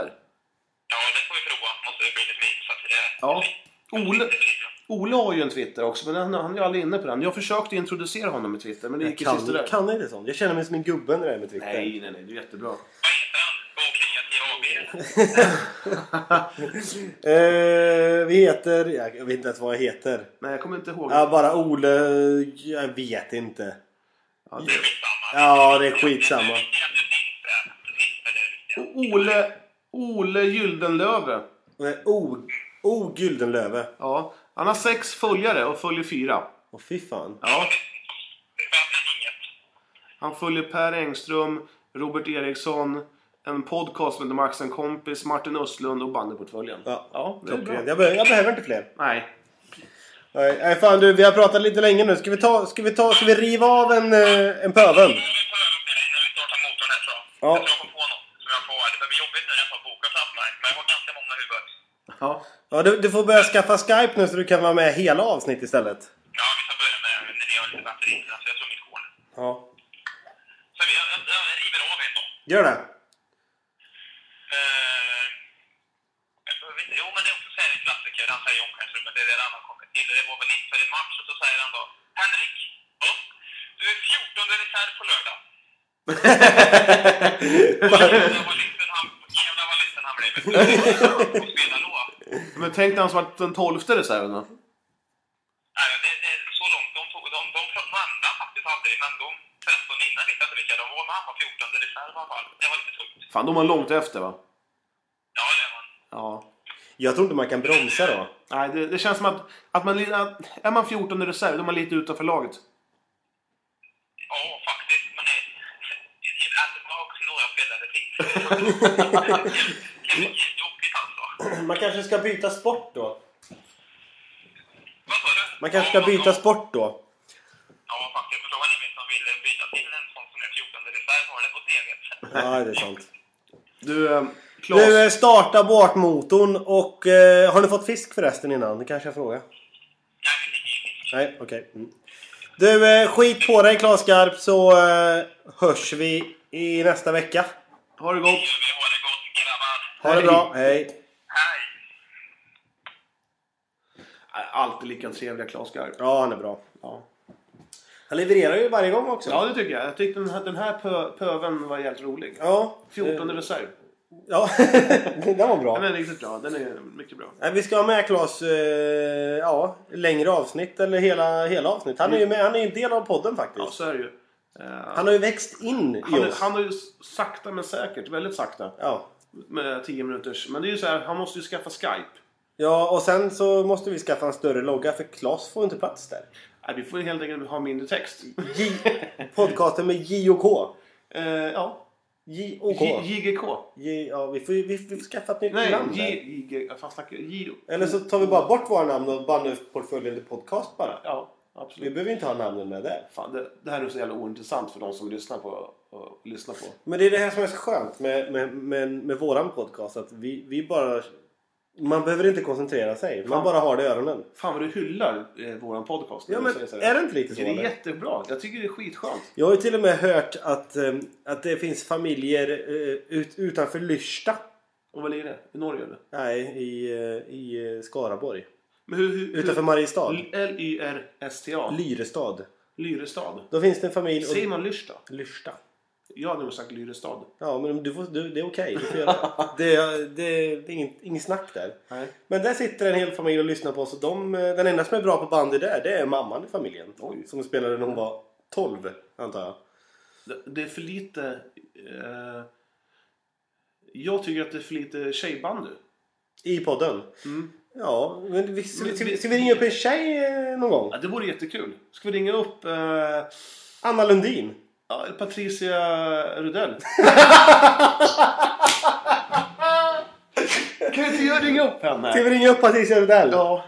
Ja, det får vi prova. Måste det bli lite mer så att eh, det...
Ja. Ole,
Det blir-
Ole har ju en Twitter också, men han, han är ju aldrig inne på den. Jag försökte introducera honom i Twitter, men det gick ju
Kan,
sist
kan inte sånt. Jag känner mig som en gubbe när det är med Twitter.
Nej, nej, nej, det är jättebra.
Vad heter han? Bokreativ AB?
Eh, vi heter... Jag vet inte ens vad jag heter.
Nej, jag kommer inte ihåg.
Ja, bara Ole... Jag vet inte.
Ja,
Det är
det-
skitsamma.
Ja, det är skitsamma.
Det är det viktiga. Det viktiga är det
O-
viktiga.
Ole, Ole Gyldenlöve.
Nej, O... O Gyldenlöve.
Ja, han har sex följare och följer fyra.
Åh fy fan.
Ja,
Det fattar inget.
han följer Per Engström, Robert Eriksson, en podcast med Max en kompis, Martin Östlund och bandyportföljen.
Ja,
ja det är
Klockrent.
bra.
Jag, be jag behöver inte fler.
Nej,
Nej, nej, fan du, vi har pratat lite länge nu. Ska vi ta... Ska vi ta... Ska vi riva av en, eh, en pöbel?
Nu tar jag upp det när vi startar motorn här tror jag.
Ja.
Jag tror jag kom på något som jag får. Det blir jobbigt nu när jag tar boken framför mig. Men jag har ganska många huvud.
ja.
Ja, du, du får börja skaffa Skype nu så du kan vara med hela avsnitt istället.
Ja, vi ska börja med när ni har lite batteri. Så jag tror mitt går.
Ja.
Så vi- jag, jag, jag river av en då.
Gör det.
Eh, jag behöver inte- jo, men det är också så här en klassiker. Han säger i omklädningsrummet, det är det han har kommit till. Det var väl inför en match och så säger han då Henrik, upp! Du är 14 reserv på lördag. Och jävlar vad liten han- jävlar vad liten han blev. Och spela då.
Men tänk när han som varit den tolfte reserven då.
Nej, det, det är så långt. De, tog, de, de, de vann faktiskt aldrig, men de 13 innan vet jag inte vilka de var. Men han var 14 reserv i alla fall. Det var lite tungt.
Fan, då var han långt efter va?
Ja, det var han.
Ja.
Jag tror inte man kan bromsa då.
Nej, det, det känns som att, att, man, li- att är man 14 reserv, då är man lite utanför laget.
Ja, faktiskt. Men det det är ändå också några spelare till. Jävligt jobbigt alltså.
Man kanske ska byta sport då.
Vad sa du?
Man kanske ska
Ja,
byta
ja.
sport då.
Ja, faktiskt. Jag förstår vad ni menar som vill byta till en sån som är 14 reserv. Har det på tvn.
Ja, det är sant.
Du, eh, Klas.
Nu eh, starta båtmotorn och eh, har ni fått fisk förresten innan? Det kanske jag frågar.
Nej, men det är ju
Nej, okej. Mm. Du, eh, skit på dig Claes Skarp så eh, hörs vi i nästa vecka.
ha det gott.
Vi har det gott, grabbar.
Ha det
Hej.
bra. Hej.
Hej!
Alltid lika trevliga Klas Garp.
Ja, han är bra.
Ja.
Han levererar ju varje gång också.
ja, det tycker jag. Jag tyckte den här, den här pö, pöven var jävligt rolig.
Ja. Eh.
14 reserv.
Ja, den var bra.
Den är riktigt bra. Den är mycket bra.
Nej, Vi ska ha med Claes eh, ja, längre avsnitt eller hela, hela avsnitt. Han är ju med, han är en del av podden
Ja,
faktiskt.
så är det ju. Eh,
Han har ju växt in i
han,
oss.
han har ju sakta men säkert, väldigt sakta,
Ja.
med 10 minuters. Men det är ju så här, han måste ju skaffa Skype.
ja, och sen så måste vi skaffa en större logga för Claes får inte plats där.
Nej, vi får ju helt enkelt ha mindre text.
J- podcasten med J och K.
Eh, ja, J-
J-O-K.
JGK.
J- Ja, vi får, ju- vi, vi får skaffa ett nytt
Nej,
namn
J...
där.
JG... Vad fan snackar jag? Giro.
Eller så tar vi bara bort våra namn och bandar upp portföljen till podcast bara.
Ja,
Vi
absolut.
behöver inte ha namnen med där.
Fan, det, det här är så jävla ointressant för de som lyssnar på... Och, lyssnar på.
Men det är det här som är
Det är så skönt med, med, med, med våran podcast att vi, vi bara... Man behöver inte koncentrera sig. Man
Fan.
bara har det i öronen.
Fan vad du hyllar eh, våran podcast. när
Ja,
du
men
säger så här.
är det inte lite så?
det är
eller?
jättebra. Jag tycker det är skitskönt.
Jag har ju till och med hört att, eh, att det finns familjer eh, ut, utanför Lyrsta.
Och vad ligger det? I Norge eller?
Nej, i, eh, i eh, Skaraborg.
Men hur, hur,
Utanför Mariestad.
hur, L-Y-R-S-T-A.
Lyrestad.
Lyrestad.
Då finns det en familj...
Säger man Lyrsta?
Lyrsta.
Jag hade nog sagt Lyrestad.
Ja, men du får, du, det är okej. Du får göra det. Det, det, det är inget, inget snack där.
Nej.
Men där sitter en hel familj och lyssnar på oss. Och de, eh, den enda som är bra på bandy där, det är mamman i familjen.
Oj.
Som spelade när hon var 12, antar jag.
Det, det är för lite... Eh, jag tycker att det är för lite tjejbandy.
I podden.
Mm.
Ja, men vi, ska, vi- ska, vi-
Men-
ska vi ringa upp en tjej eh, någon gång?
Ja, det vore jättekul. Ska vi ringa upp eh,
Anna Lundin.
ja, Patricia Rudell? kan inte jag ringa upp
Ska
henne?
vi ringa upp Patricia Rudell?
Ja.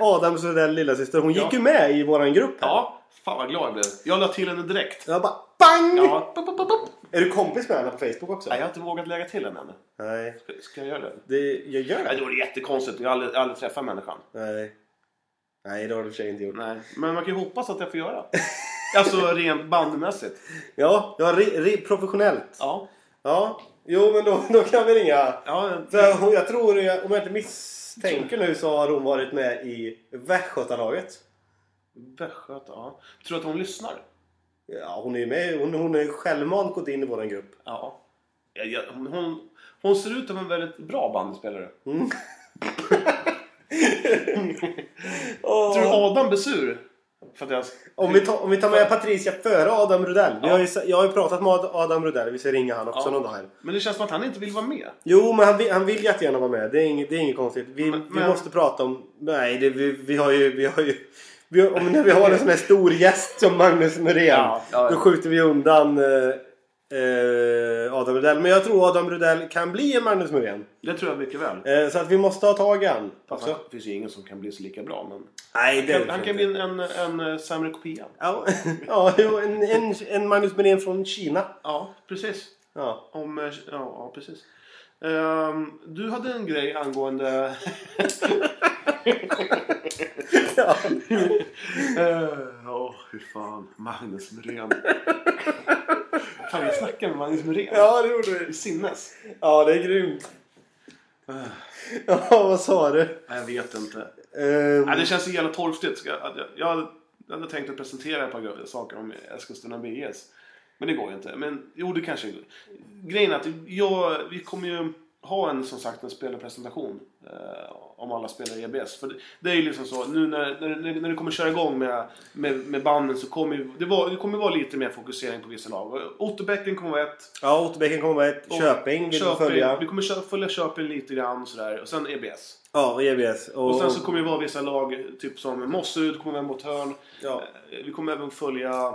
Adams Rudell lillasyster. Hon
Ja.
gick ju med i våran grupp. här.
ja. Fan vad glad jag blev. Jag la till henne direkt.
Jag bara BANG!
Ja. Pop, pop, pop, pop.
Är du kompis med henne på Facebook också?
Nej, jag har inte vågat lägga till henne ännu.
Nej.
Ska- Ska jag göra det?
Det, jag gör
Nej, det
det.
vore jättekonstigt. Jag har aldrig, aldrig träffat människan.
Nej. Nej, det har du i och för sig inte gjort.
Nej. Men man kan ju hoppas att jag får göra. alltså rent bandmässigt.
Ja, ja ri, ri, professionellt.
Ja.
Ja. Jo, men då, då kan vi ringa.
ja.
För hon- jag tror, eh, om jag inte misstänker nu, så har hon varit med i Västgötalaget.
Västgöta, ja. Tror du att hon lyssnar?
Ja, hon är ju med. Hon, hon är självmant gått in i våran grupp.
Ja. Jag, jag, hon- hon, hon ser ut som en väldigt bra bandspelare. Tror du Adam blir sur? För att jag...
Om vi, tar, om vi tar med Patricia före Adam Rudell. Vi har ju, sa- jag har ju pratat med Ad- Adam Rudell. Vi ska ringa han också
Ja.
någon dag här.
Men det känns som att han inte vill vara med.
Jo, men han vill, han vill jättegärna vara med. Det är inget, det är inget konstigt. Vi,
Men-
vi
men-
måste prata om... Nej, det, vi, vi har ju... Vi har ju vi har, om när vi har en sån här stor gäst som Magnus Norén.
Ja, ja, ja.
Då skjuter vi undan eh, eh, Adam Rudell. Men jag tror Adam Rudell kan bli en Magnus Norén.
Det tror jag mycket väl.
Eh, så att vi måste ha tag i han.
Alltså,
Också.
det finns ju ingen som kan bli så lika bra. Men...
Nej, det
Han, han kan bli en, en, en eh, sämre kopia.
Ja, ja jo, en, en, en Magnus Norén från Kina.
Ja, precis.
Ja.
Om, eh, ja, ja, precis. Ehm, du hade en grej angående...
Ja.
Eh, Åh, hur fan. Magnus Muren. Kan vi snacka med Magnus Muren?
ja, det gjorde vi.
I Sinnes?
Ja, det är grymt. Ja, vad sa du?
Nej, Jag vet inte.
Ehm,
Nej, det känns så jävla torftigt. Ska Jag, att jag, jag hade- jag hade tänkt att presentera ett par gre- saker om Eskilstuna BS. Men det går ju inte. Men jo, det kanske går. Grejen är att jag, vi kommer ju ha en, som sagt, en spelarpresentation. Eh, om alla spelar i EBS. För det, det är ju liksom så, nu när, när, när, när det kommer köra igång med, med, med banden så kommer ju- det, var, det kommer vara lite mer fokusering på vissa lag. Och Otterbäcken kommer vara ett.
Ja, Otterbäcken kommer med ett
Och
Köping vill
Köping-
vi följa.
Vi kommer kö- följa Köping lite grann och sådär. Och sen E EBS.
Ja, och EBS. Och,
Och sen så kommer det vara vissa lag, typ som Mossud kommer vara mot Hörn.
ja.
Eh, Vi kommer även följa...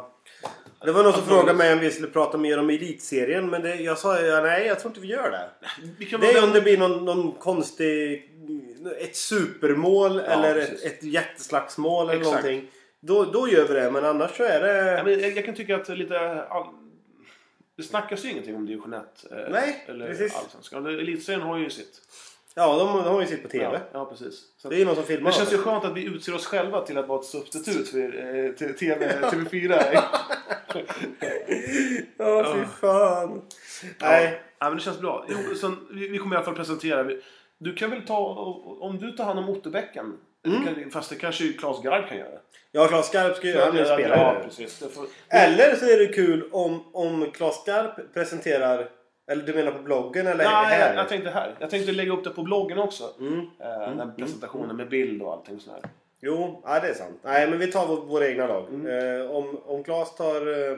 Det var någon som frågade mig om vi skulle prata mer om elitserien, men det, jag sa ja, nej, jag tror inte vi gör det.
Vi kan
Det är
vara-
om det blir någon, någon konstig... Ett supermål eller ett,
precis.
ett jätteslagsmål eller
Exakt.
någonting. Då, då gör vi det, men annars så är det...
Ja, men jag, jag kan tycka att lite... all- Det snackas ju ingenting om division 1. eh,
Nej,
eller
precis.
allsvenskan. Elitserien har ju sitt.
Ja, de, de har ju sitt på TV.
Ja, ja precis. Så att,
Det är ju någon som filmar
det känns ju
dem.
skönt att vi utser oss själva till att vara ett substitut för eh, till TV, TV4.
Ja, fy fan. Nej.
Ja, men det känns bra. Jo, sen, vi, vi kommer i alla fall presentera. Vi- Du kan väl ta, och- om du tar hand om Otterbäcken.
Mm.
kan- Fast det kanske ju Claes Garb kan göra.
Ja, Claes Skarp ska ju... Han är ju spelare.
Ja, precis. Det får,
Eller så är det kul om, om Claes Skarp presenterar... Eller du menar på bloggen eller
Nej,
här?
jag, jag tänkte här. Jag tänkte lägga upp det på bloggen också.
Mm.
Eh, den presentationen med bild och allting sånt där.
Jo, ja, det är sant. Nej, men vi tar vår, våra egna lag. Eh, om, om Claes tar eh,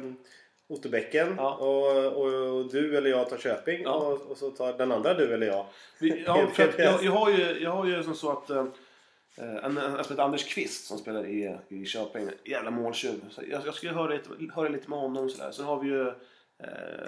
Otterbäcken
Ja.
och, och, och du eller jag tar Köping
Ja.
och, och så tar den andra du eller jag.
Vi, ja, för att jag, jag har ju, jag har ju som så att eh, en, en, alltså ett Anders Kvist som spelar eh, i, i Köping, jävla måltjuv. Så jag, jag skulle höra lite, höra lite med honom och sådär. Sen har vi ju eh,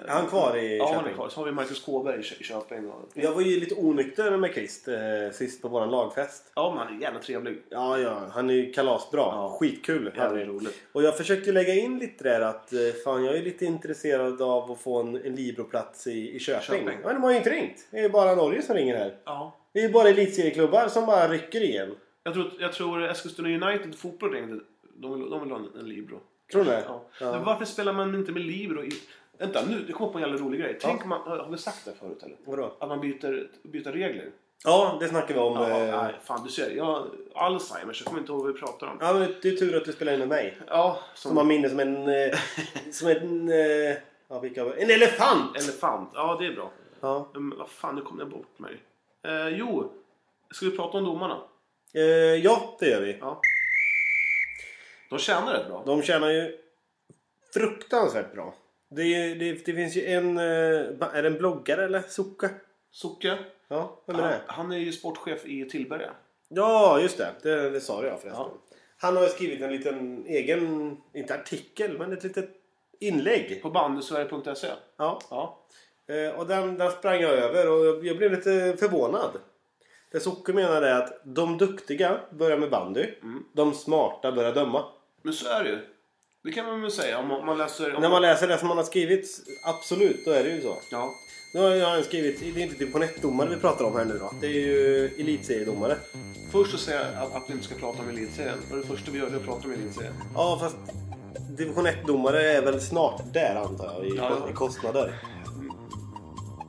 Är han kvar i
Ja, han är
Köping?
kvar. Så har vi Marcus Kåberg i Kö- i Köping. och-
Jag var ju lite onykter med Christ eh, sist på våran lagfest.
Ja, men han är jävla trevlig.
Ja, ja. Han är ju kalasbra. Skitkul.
Jävligt roligt.
Och jag försökte lägga in lite där att eh, fan jag är lite intresserad av att få en, en Libro-plats i, i Köping.
Köping.
Ja, de har ju inte ringt. Det är ju bara Norge som ringer här.
Ja.
Det är ju bara elitserieklubbar som bara rycker igen.
Jag tror, jag tror Eskilstuna United fotboll ringde. De vill, de vill ha en, en Libro.
Tror du det?
Ja.
Ja.
Men varför spelar man inte med Libro? I, vänta, nu det kom jag på en jävla rolig grej. Tänk om man, har vi sagt det förut eller?
Vadå?
Att man byter, byter regler.
Ja, det snackar vi om.
Ja,
eh,
nej, fan du ser. Jag har Alzheimer så jag kommer inte ihåg vad vi pratar om.
ja, men det är tur att du spelar in med mig.
Ja, som,
Som har minne som en... eh, som en... eh, Ja, vilka var En elefant!
elefant. Ja, det är bra.
Ja.
Men vad fan, nu kom jag bort mig. Eh, jo, ska vi prata om domarna?
Eh, ja, det gör vi.
Ja. De tjänar rätt bra.
De tjänar ju fruktansvärt bra. Det, är ju, det, det finns ju en... eh, ba- Är det en bloggare eller? Socke?
Socke,
Ja, vem är
han,
det?
han är ju sportchef i Tillberga.
Ja, just det. Det, det sa jag förresten. Han har skrivit en liten egen, inte artikel, men ett litet inlägg.
På bandysverige.se.
Ja.
E. Ja.
Eh, Och den, den sprang jag över och jag, jag blev lite förvånad. Det Socke menar är att de duktiga börjar med bandy.
Mm.
De smarta börjar döma.
Men så är det ju. Det kan man väl säga om man, om man läser... Om
När man läser det som man har skrivit, absolut, då är det ju så.
Ja.
Nu har jag skrivit, det är inte division vi pratar om här nu då. Det är ju elitseriedomare.
Först så säger jag att, att vi inte ska prata om elitserien. Och det första vi gör det är att prata om elitserien.
Ja, fast division 1-domare är väl snart där antar jag i,
Ja, ja.
i kostnader.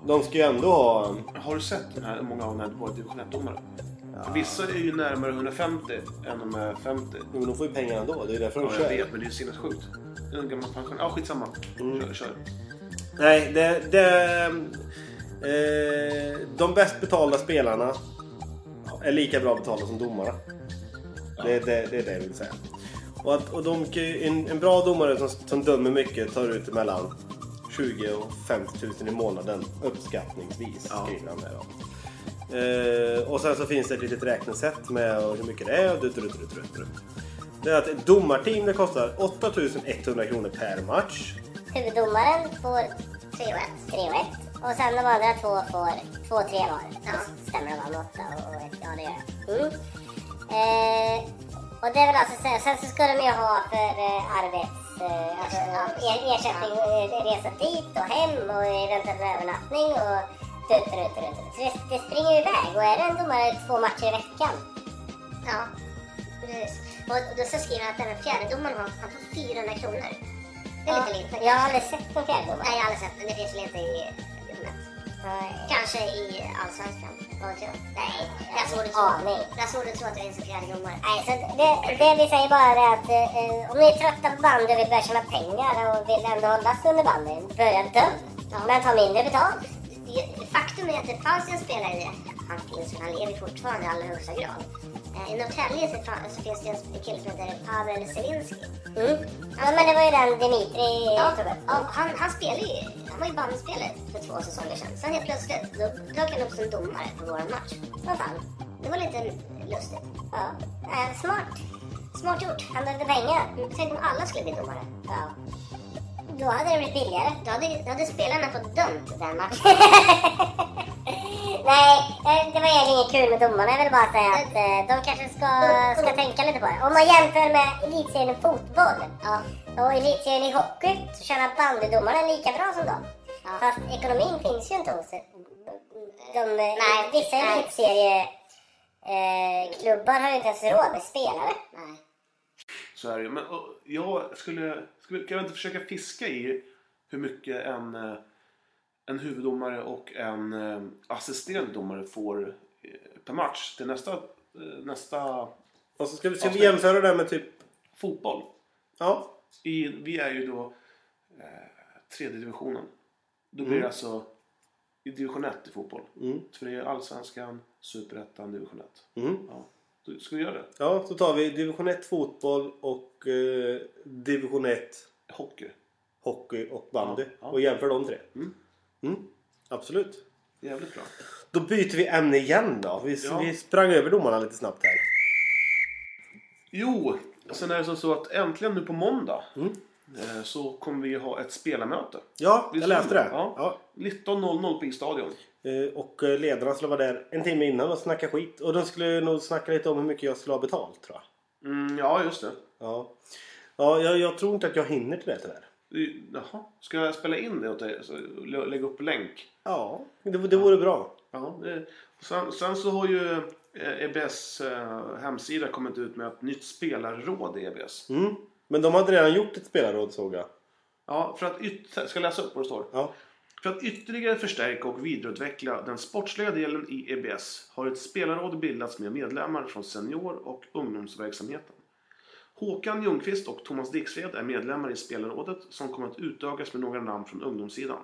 De ska ju ändå ha...
Har du sett den här, hur många av de här våra division 1-domare? Vissa är ju närmare 150 än de är 50.
Jo, men de får ju pengar ändå. Det är ju därför de
Ja, jag
kör.
vet, men det är ju sinnessjukt. Det är En gammal pensionär. Ja, skitsamma. Kör, kör.
Nej, det... det eh, de bäst betalda spelarna är lika bra betalda som domarna. Det, det, det är det jag vill säga. Och, att, och de, kan ju- en, en bra domare som, som dömer mycket tar ut mellan 20 000 och 50 000 i månaden uppskattningsvis.
Ja.
Skriver han där. då. Eh, och sen så finns det ett litet räknesätt med hur mycket det är. Och dut, dut, dut, dut, dut. Det är att ett domarteam det kostar 8 100 kronor per match.
Huvuddomaren får 3 och 1. 3 och 1. Och sen de andra två får 2 och 3 var. Ja. Stämmer de var med 8 och 1? Ja, det gör det. Mm. Eh, och det är väl alltså sen, sen så ska de ju ha för eh, arbets... Eh, alltså, ja, er, ersättning, eh, resa dit och hem och eventuellt övernattning och tut, tut, tut, tut. Så det, det springer ju iväg och är det en domare två matcher i veckan? Ja, precis. Och då så skriver han att den fjärdedomaren har, han får 400 kronor. Det är lite lite. Jag har aldrig sett en fjärdedomare. Nej, jag har aldrig sett. Men det finns väl inte i division 1? Kanske i allsvenskan. Vad vet jag? Nej, där får du tro. Aning. Där får du tro att det finns en fjärdedomare. Nej, så det, det vi säger bara är att eh, eh, om ni är trötta på bandy och vill börja tjäna pengar och vill ändå hållas under bandy, börja döm. Men ta mindre betalt. Faktum är att det fanns en spelare i han finns för han lever fortfarande i allra högsta grad. Eh, I Norrtälje så, så finns det en kille som heter Pavel Selinski. Mm. Ja, men det var ju den Dimitri ja, ja, han, han spelade ju, han var ju bandspelare för två säsonger sedan. Sen helt plötsligt, då dök han upp som domare på vår match. Vad fan, det var lite lustigt. Ja, eh, smart. Smart gjort. Han behövde pengar. Mm, Tänk om alla skulle bli domare. Ja. Då hade det blivit billigare. Då hade, då hade spelarna fått dömt den matchen. Nej, eh, det var egentligen inget kul med domarna. Jag vill bara säga att eh, de kanske ska, ska tänka lite på det. Om man jämför med elitserien i fotboll och elitserien i hockey så tjänar bandydomarna lika bra som dem. Fast ekonomin finns ju inte hos de, Eh, nej, vissa elitserieklubbar har ju inte ens råd med spelare.
Så är det ju. Men och, jag skulle... skulle kan jag inte försöka fiska i hur mycket en, eh, en huvuddomare och en eh, assisterande domare får eh, per match till nästa, eh, nästa
Och så ska vi, ska vi
Avsnitt.
jämföra det med typ...
fotboll.
Ja.
I, vi är ju då eh, tredje divisionen. Då blir det alltså i division 1 i fotboll. För det är allsvenskan, superettan, division 1.
Mm.
Ja. Då Ska vi göra det?
Ja, så tar vi division 1 fotboll och eh, division 1
Hockey.
hockey och bandy.
Ja, ja.
Och jämför de tre.
Mm.
Mm, Absolut.
Jävligt bra.
Då byter vi ämne igen då. Vi,
Ja.
vi sprang över domarna lite snabbt här.
Jo, sen är det som så att äntligen nu på måndag. eh, så kommer vi ha ett spelarmöte.
Ja,
Visst
jag läste
var
det.
det? Ja. 19.00 på Isstadion.
Eh, Och eh, ledarna skulle vara där en timme innan och snacka skit. Och de skulle nog snacka lite om hur mycket jag skulle ha betalt tror jag.
Mm, ja, just det.
Ja, ja jag, jag tror inte att jag hinner till det tyvärr.
I- Jaha, ska jag spela in det åt dig? Så lä- Lägga upp länk?
Ja, det, det vore bra.
Ja, det, och sen, sen så har ju eh, EBS eh, hemsida kommit ut med ett nytt spelarråd i E EBS.
Mm. Men de hade redan gjort ett spelarråd såg jag.
Ja, för att yt- ska jag läsa upp vad det står?
Ja.
För att ytterligare förstärka och vidareutveckla den sportsliga delen i EBS har ett spelarråd bildats med medlemmar från senior och ungdomsverksamheten. Håkan Ljungqvist och Thomas Dixved är medlemmar i spelarrådet som kommer att utökas med några namn från ungdomssidan.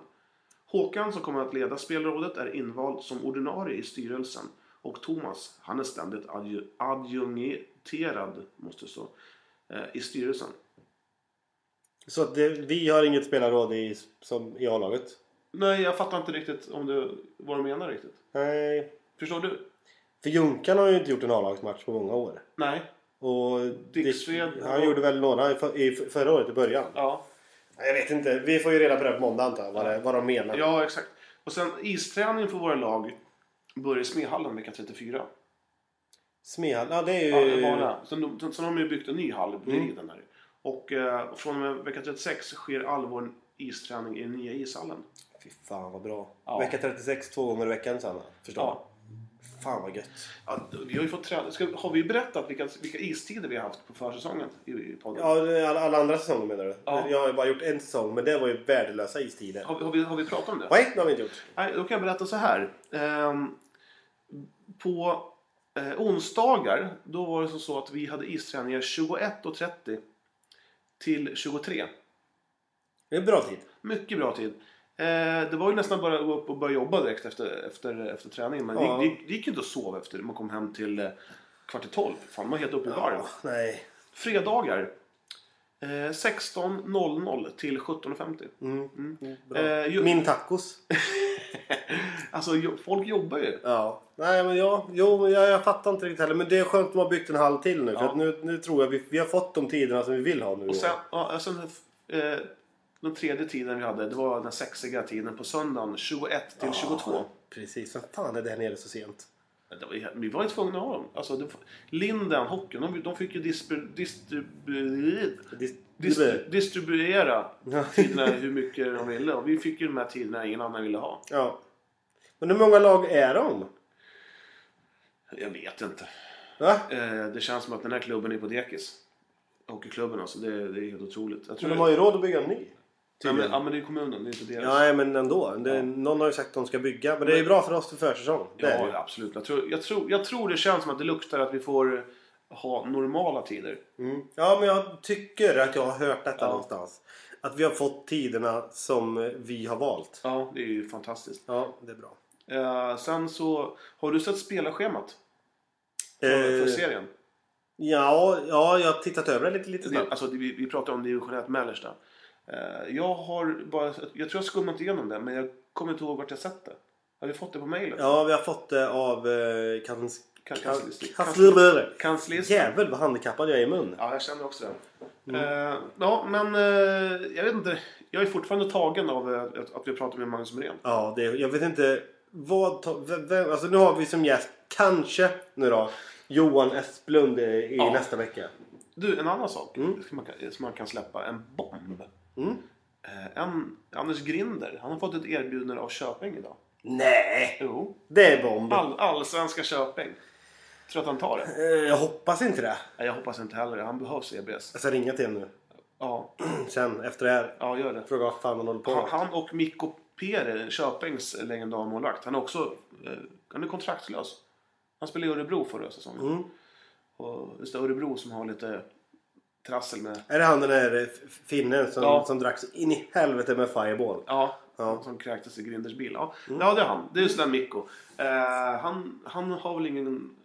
Håkan som kommer att leda spelarrådet är invald som ordinarie i styrelsen och Thomas, han är ständigt adju- adjungerad, måste det stå, eh, i styrelsen.
Så att det, vi har inget spelarråd i, som, i A-laget?
Nej, jag fattar inte riktigt om du, vad du menar riktigt.
Nej.
Förstår du?
För Junkan har ju inte gjort en A-lagsmatch på många år.
Nej.
Och
Dixved-
Dick- han gjorde väl några i, för- i förra året i början.
Ja,
Jag vet inte. Vi får ju reda på det på måndag antar jag. Vad, det, vad de menar.
ja exakt. Och sen isträning för våra lag börjar i Smedhallen vecka 34.
Smehall. Ja, det är
Ja,
ju...
bara. Sen, de- sen har de ju byggt en ny hall bredvid den här. Och eh, från och med vecka 36 sker all vår isträning i den nya ishallen.
Fy fan vad bra.
Ja.
Vecka 36 två gånger i veckan Sanna. Förstår
Ja.
du? Fan vad gött.
Ja, vi har ju fått träna. Ska, har vi berättat vilka, vilka istider vi har haft på försäsongen i, i podden?
Ja, det är alla, alla andra säsonger menar du?
Ja.
Jag har ju bara gjort en säsong men det var ju värdelösa istider.
Har, vi- har, vi, har vi pratat om det?
Nej, det har vi inte gjort.
Nej, då kan jag berätta så här. Ehm, på eh, onsdagar, då var det som så att vi hade isträningar 21.30 till 23.
Det är en bra tid.
Mycket bra tid. Eh, det var ju nästan bara att gå upp och börja jobba direkt efter, efter, efter träningen. Men
Ja.
det, gick- det, gick- det gick ju inte att sova efter man kom hem till eh, kvart i tolv. Fan, man var helt uppe i varv.
Ja, nej.
Fredagar. Eh, 16.00 till 17.50.
Mm. Bra.
Eh, ju-
Min tacos.
Alltså, jo- folk jobbar ju.
Ja. Nej men ja, jo, men jag, jag fattar inte riktigt heller. Men det är skönt att de har byggt en hall till nu. För
Ja.
att nu, nu tror jag vi, vi har fått de tiderna som vi vill ha nu. i år.
Och sen, ja, sen eh, den tredje tiden vi hade, det var den sexiga tiden på söndagen 21 till 22.
Precis. Vad fan är det här nere så sent?
Men Det var, ju he- vi var ju tvungna att ha dem. Alltså, det, Linden, hockeyn, de, de fick ju distribu, distribu,
Dis-
dis- distribuera tiderna hur mycket de ville. Och vi fick ju de här tiderna ingen annan ville ha.
Ja. Men hur många lag är de?
Jag vet inte.
Va?
Eh, det känns som att den här klubben är på dekis. Hockeyklubben alltså, det, det är helt otroligt. Jag tror
Men de har ju råd att bygga en ny.
ja, men, ja men det är kommunen, det är inte deras.
Ja, nej, men ändå. Det, Någon har ju sagt att de ska bygga. Men det är ju bra för oss för försäsong. Det är det
Ja,
ju.
absolut. Jag tror, jag, tror, jag tror det känns som att det luktar att vi får ha normala tider.
Mm. ja, men jag tycker att jag har hört detta
Ja.
någonstans. Att vi har fått tiderna som eh, vi har valt.
Ja, det är ju fantastiskt.
Ja, det är bra.
Eh, sen så, har du sett spelarschemat för,
Eh,
för serien?
ja, ja, jag har tittat över det lite, lite
Det,
snabbt.
alltså, det, vi, vi pratar om division 1 mellersta. Eh, jag har bara, jag tror jag skummat igenom det, men jag kommer inte ihåg vart jag sett det. Har vi fått det på mejlen?
Ja, vi har fått det av eh, kans...
Kan-
kans-
kanslister.
kanslister.
Kanslistan?
Jävel vad handikappad jag är i mun.
Ja, jag känner också det.
Mm.
Eh, ja, men eh, jag vet inte. Jag är fortfarande tagen av eh, att, att vi pratar med Magnus Norén.
Ja, det, jag vet inte vad... ta- Vem, vem, alltså nu har vi som gäst, kanske nu då, Johan Esplund i, i
Ja.
nästa vecka.
Du, en annan sak som, man kan, som man kan släppa. En bomb. Eh, En, Anders Grinder, han har fått ett erbjudande av Köping idag.
Nej!
Jo.
Det är bomb.
All, allsvenska Köping. Tror du att han tar det?
Eh, Jag hoppas inte det.
Nej, jag hoppas inte heller det. Han behövs i E EBS.
Jag ska ringa till honom
Ja,
nu. Sen efter det här.
ja gör det.
Fråga vad fan han håller på
Han,
med.
han och Mikko Pere, Köpings legendarmålvakt, han är också eh, han är kontraktslös. Han spelade i Örebro förra säsongen.
Mm.
Och just det, Örebro som har lite trassel med...
Är det han den där eh, f- finnen som,
Ja.
som drack så in i helvete med Fireball?
Ja,
Ja. Mm.
som kräktes i Grinders bil. Ja, ja det är han. Det är just den Mikko. Eh, han, han har väl ingen...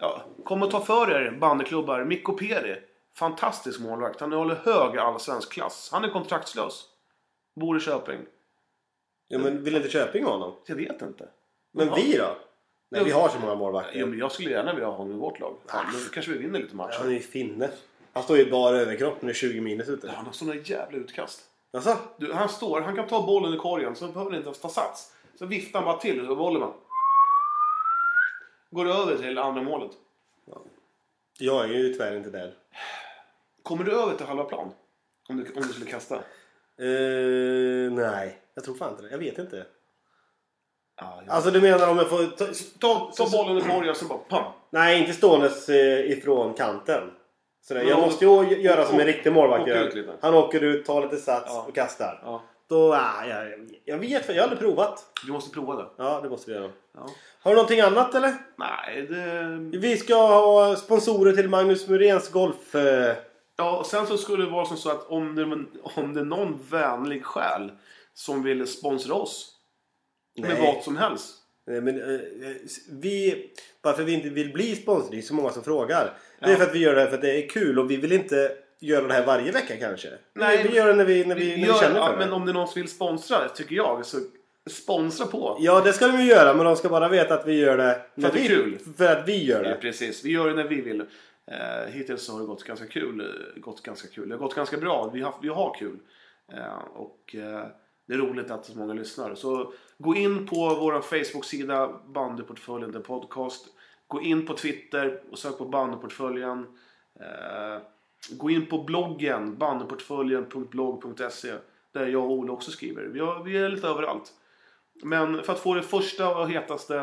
Ja, kom och ta för er bandeklubbar. Mikko Peri. Fantastisk målvakt. Han håller hög allsvensk klass. Han är kontraktslös. Bor i Köping.
Ja, men vill inte Köping ha honom?
Jag vet inte.
Men
Ja.
vi då? Nej,
Jo.
vi har så många
Jo,
målvakter. Ah.
men jag skulle gärna vilja ha honom i vårt lag. Fan, nu kanske vi vinner lite matcher.
Han är ju finne. Han står ju i bara överkropp när det är 20 minus ute.
Han har såna jävla utkast.
Alltså,
Du, han står, han kan ta bollen i korgen så behöver han inte ens ta sats. Så viftar han bara till och så bollen man. Går över till andra målet.
jag är ju tyvärr inte där.
Kommer du över till halva plan? Om du, om du skulle kasta?
Eh, nej, jag tror fan inte det. Jag vet inte.
Ja, ja.
Alltså du menar om jag får... Ta,
Alltså, Ta, ta bollen i korgen och så bara pam.
nej, inte ståendes eh, ifrån kanten. Sådär.
Men
Jag
om-
måste ju göra som en
åk-
riktig målvakt
åka ut
gör.
lite.
Han åker ut, tar lite sats
Ja.
och kastar.
Ja.
Då, ah, jag, jag vet för jag har aldrig provat.
Vi måste prova det.
Ja, det måste vi göra.
Ja.
Har du någonting annat eller?
Nej, det...
Vi ska ha sponsorer till Magnus Muréns golf... Eh,
Ja, och sen så skulle det vara som så att om det, om det är någon vänlig själ som vill sponsra oss med
Nej.
vad som helst.
Nej, men, eh, eh, vi, varför vi inte vill bli sponsrade, det är så många som frågar. Det är
Ja.
för att vi gör det här för att det är kul och vi vill inte göra det här varje vecka kanske. Nej,
Nej,
vi, vi gör det när vi, när vi, när vi
gör-
känner för
ja,
det.
men om det är någon som vill sponsra, tycker jag, så sponsra på.
Ja, det ska de ju göra men de ska bara veta att vi gör det när
att det är
vi,
kul.
För att vi gör
Ja,
det.
precis. Vi gör det när vi vill. Eh, hittills så har det gått ganska kul. eh, Gått ganska kul. Det har gått ganska bra. Vi har, vi har kul. Eh, och eh, det är roligt att så många lyssnar. Så gå in på vår Facebook-sida Bandyportföljen The Podcast. Gå in på Twitter och sök på Bandyportföljen. Eh, gå in på bloggen bandyportföljen.blogg.se där jag och Ola också skriver. Vi, har, vi är lite överallt. Men för att få det första och hetaste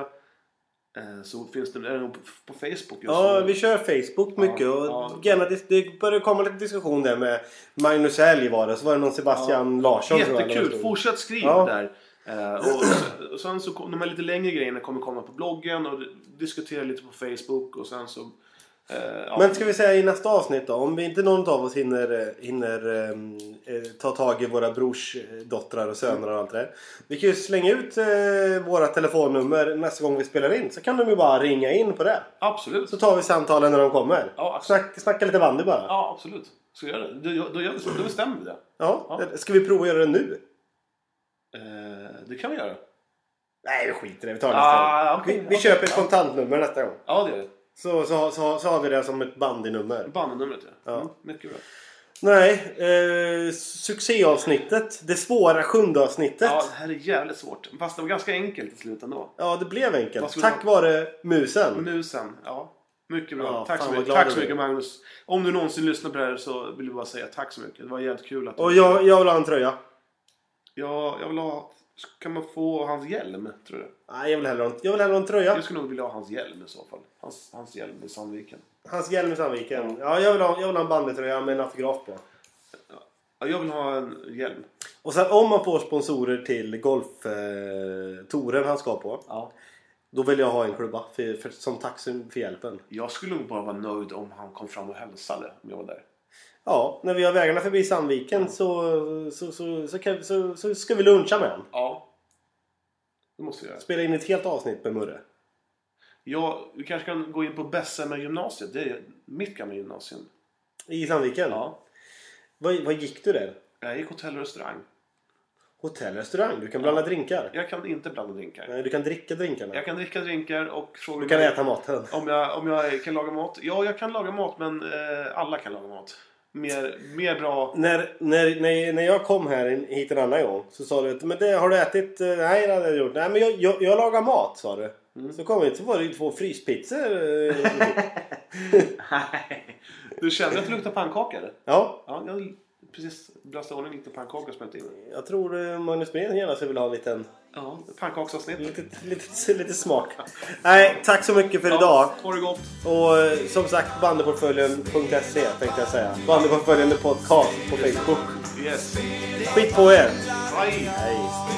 eh, så finns det, är det nog på, på Facebook just
Ja,
nu.
vi kör Facebook mycket
Ja,
och
ja.
gärna dis- det börjar komma lite diskussion där med Magnus Älg var det och så var det någon Sebastian Larsson tror jag, eller vad det
Jättekul!
stod.
Fortsätt skriva
Ja.
där. Eh, och, och sen så kom, de här lite längre grejerna kommer komma på bloggen och diskutera lite på Facebook och sen så... eh, ja.
Men ska vi säga i nästa avsnitt då? Om vi inte någon av oss hinner, eh, hinner ehm, eh, ta tag i våra brorsdottrar och söner och allt det där. Vi kan ju slänga ut eh, våra telefonnummer nästa gång vi spelar in. Så kan de ju bara ringa in på det.
Absolut!
Så tar vi samtalen när de kommer.
Ja, absolut.
Snack, snacka lite bandy bara. Ja.
Ja, absolut. Ska vi göra det? Då, då, gör vi så. då bestämmer vi det. Ja.
Ska vi prova att göra det nu?
Eh, det kan vi göra.
Nej, vi skiter i det. Vi tar det nästa
Ah,
gång.
okej,
vi vi
okej,
köper ett kontantnummer nästa gång.
Ja, det är det.
Så, så, så, så har vi det som ett bandynummer.
Bandnumret, ja.
Ja.
Mm, mycket bra.
Nej, eh, succéavsnittet. Det svåra sjunde avsnittet.
Ja, det här är jävligt svårt. Fast det var ganska enkelt i slutet ändå.
Ja, det blev
Vad
enkelt.
skulle
Tack
du
vare musen.
Musen, ja. Mycket bra.
Ja,
tack
fan
så
vad
mycket.
glad
Tack
du
så
är.
mycket Magnus. Om du någonsin lyssnar på det här så vill jag bara säga tack så mycket. Det var jävligt kul att du...
Och jag, jag vill ha en tröja.
Ja, jag vill ha... Kan man få hans hjälm, tror du?
Nej, jag vill hellre ha en, jag vill hellre ha en tröja.
Jag skulle nog vilja ha hans hjälm i så fall. Hans, hans hjälm i Sandviken.
Hans hjälm i Sandviken. Ja, jag vill ha, jag vill ha en bandytröja med en autograf på.
Ja, jag vill ha en hjälm.
Och sen om man får sponsorer till golftouren eh, touren han ska på.
Ja.
Då vill jag ha en klubba för, för, som tack så- för hjälpen.
Jag skulle nog bara vara nöjd om han kom fram och hälsade om jag var där.
Ja, när vi har vägarna förbi Sandviken så, så, så, så, kan, så, så ska vi luncha med honom.
Ja. Det måste vi göra.
Spela in ett helt avsnitt med Murre.
Ja, vi kanske kan gå in på Bessemer gymnasiet. Det är mitt gamla gymnasium.
I Sandviken?
Ja.
Vad, vad gick du där?
Jag gick hotell och restaurang.
Hotell, restaurang? Du kan blanda drinkar?
Jag kan inte blanda drinkar.
Nej, du kan dricka drinkarna.
Jag kan dricka drinkar och fråga
Du kan
mig
äta maten.
om jag, om jag kan laga mat. Ja, jag kan laga mat, men eh, alla kan laga mat. Mer, mer bra...
När, när, när, när jag kom här in- hit en annan gång så sa du att men det, har du ätit? Eh, Nej det hade jag gjort. Nej men jag, jag, jag lagar mat sa du. Så kom vi hit så var det ju två fryspizzor. eh,
Nej. Du kände att det luktade pannkaka? eller?
ja,
Ja, jag precis brast i ordning lite pannkaka och smälte in den.
jag tror eh, Magnus Brén gärna skulle vilja ha en liten,
Ja, pannkaksavsnitt.
lite, lite, lite smak. Nej tack så mycket för idag.
Ha det gott!
Och eh, som sagt bandyportföljen.se E, tänkte jag säga. Bandyportföljen är podcast på Facebook.
Yes.
Skit på er!
Hej!
Hej.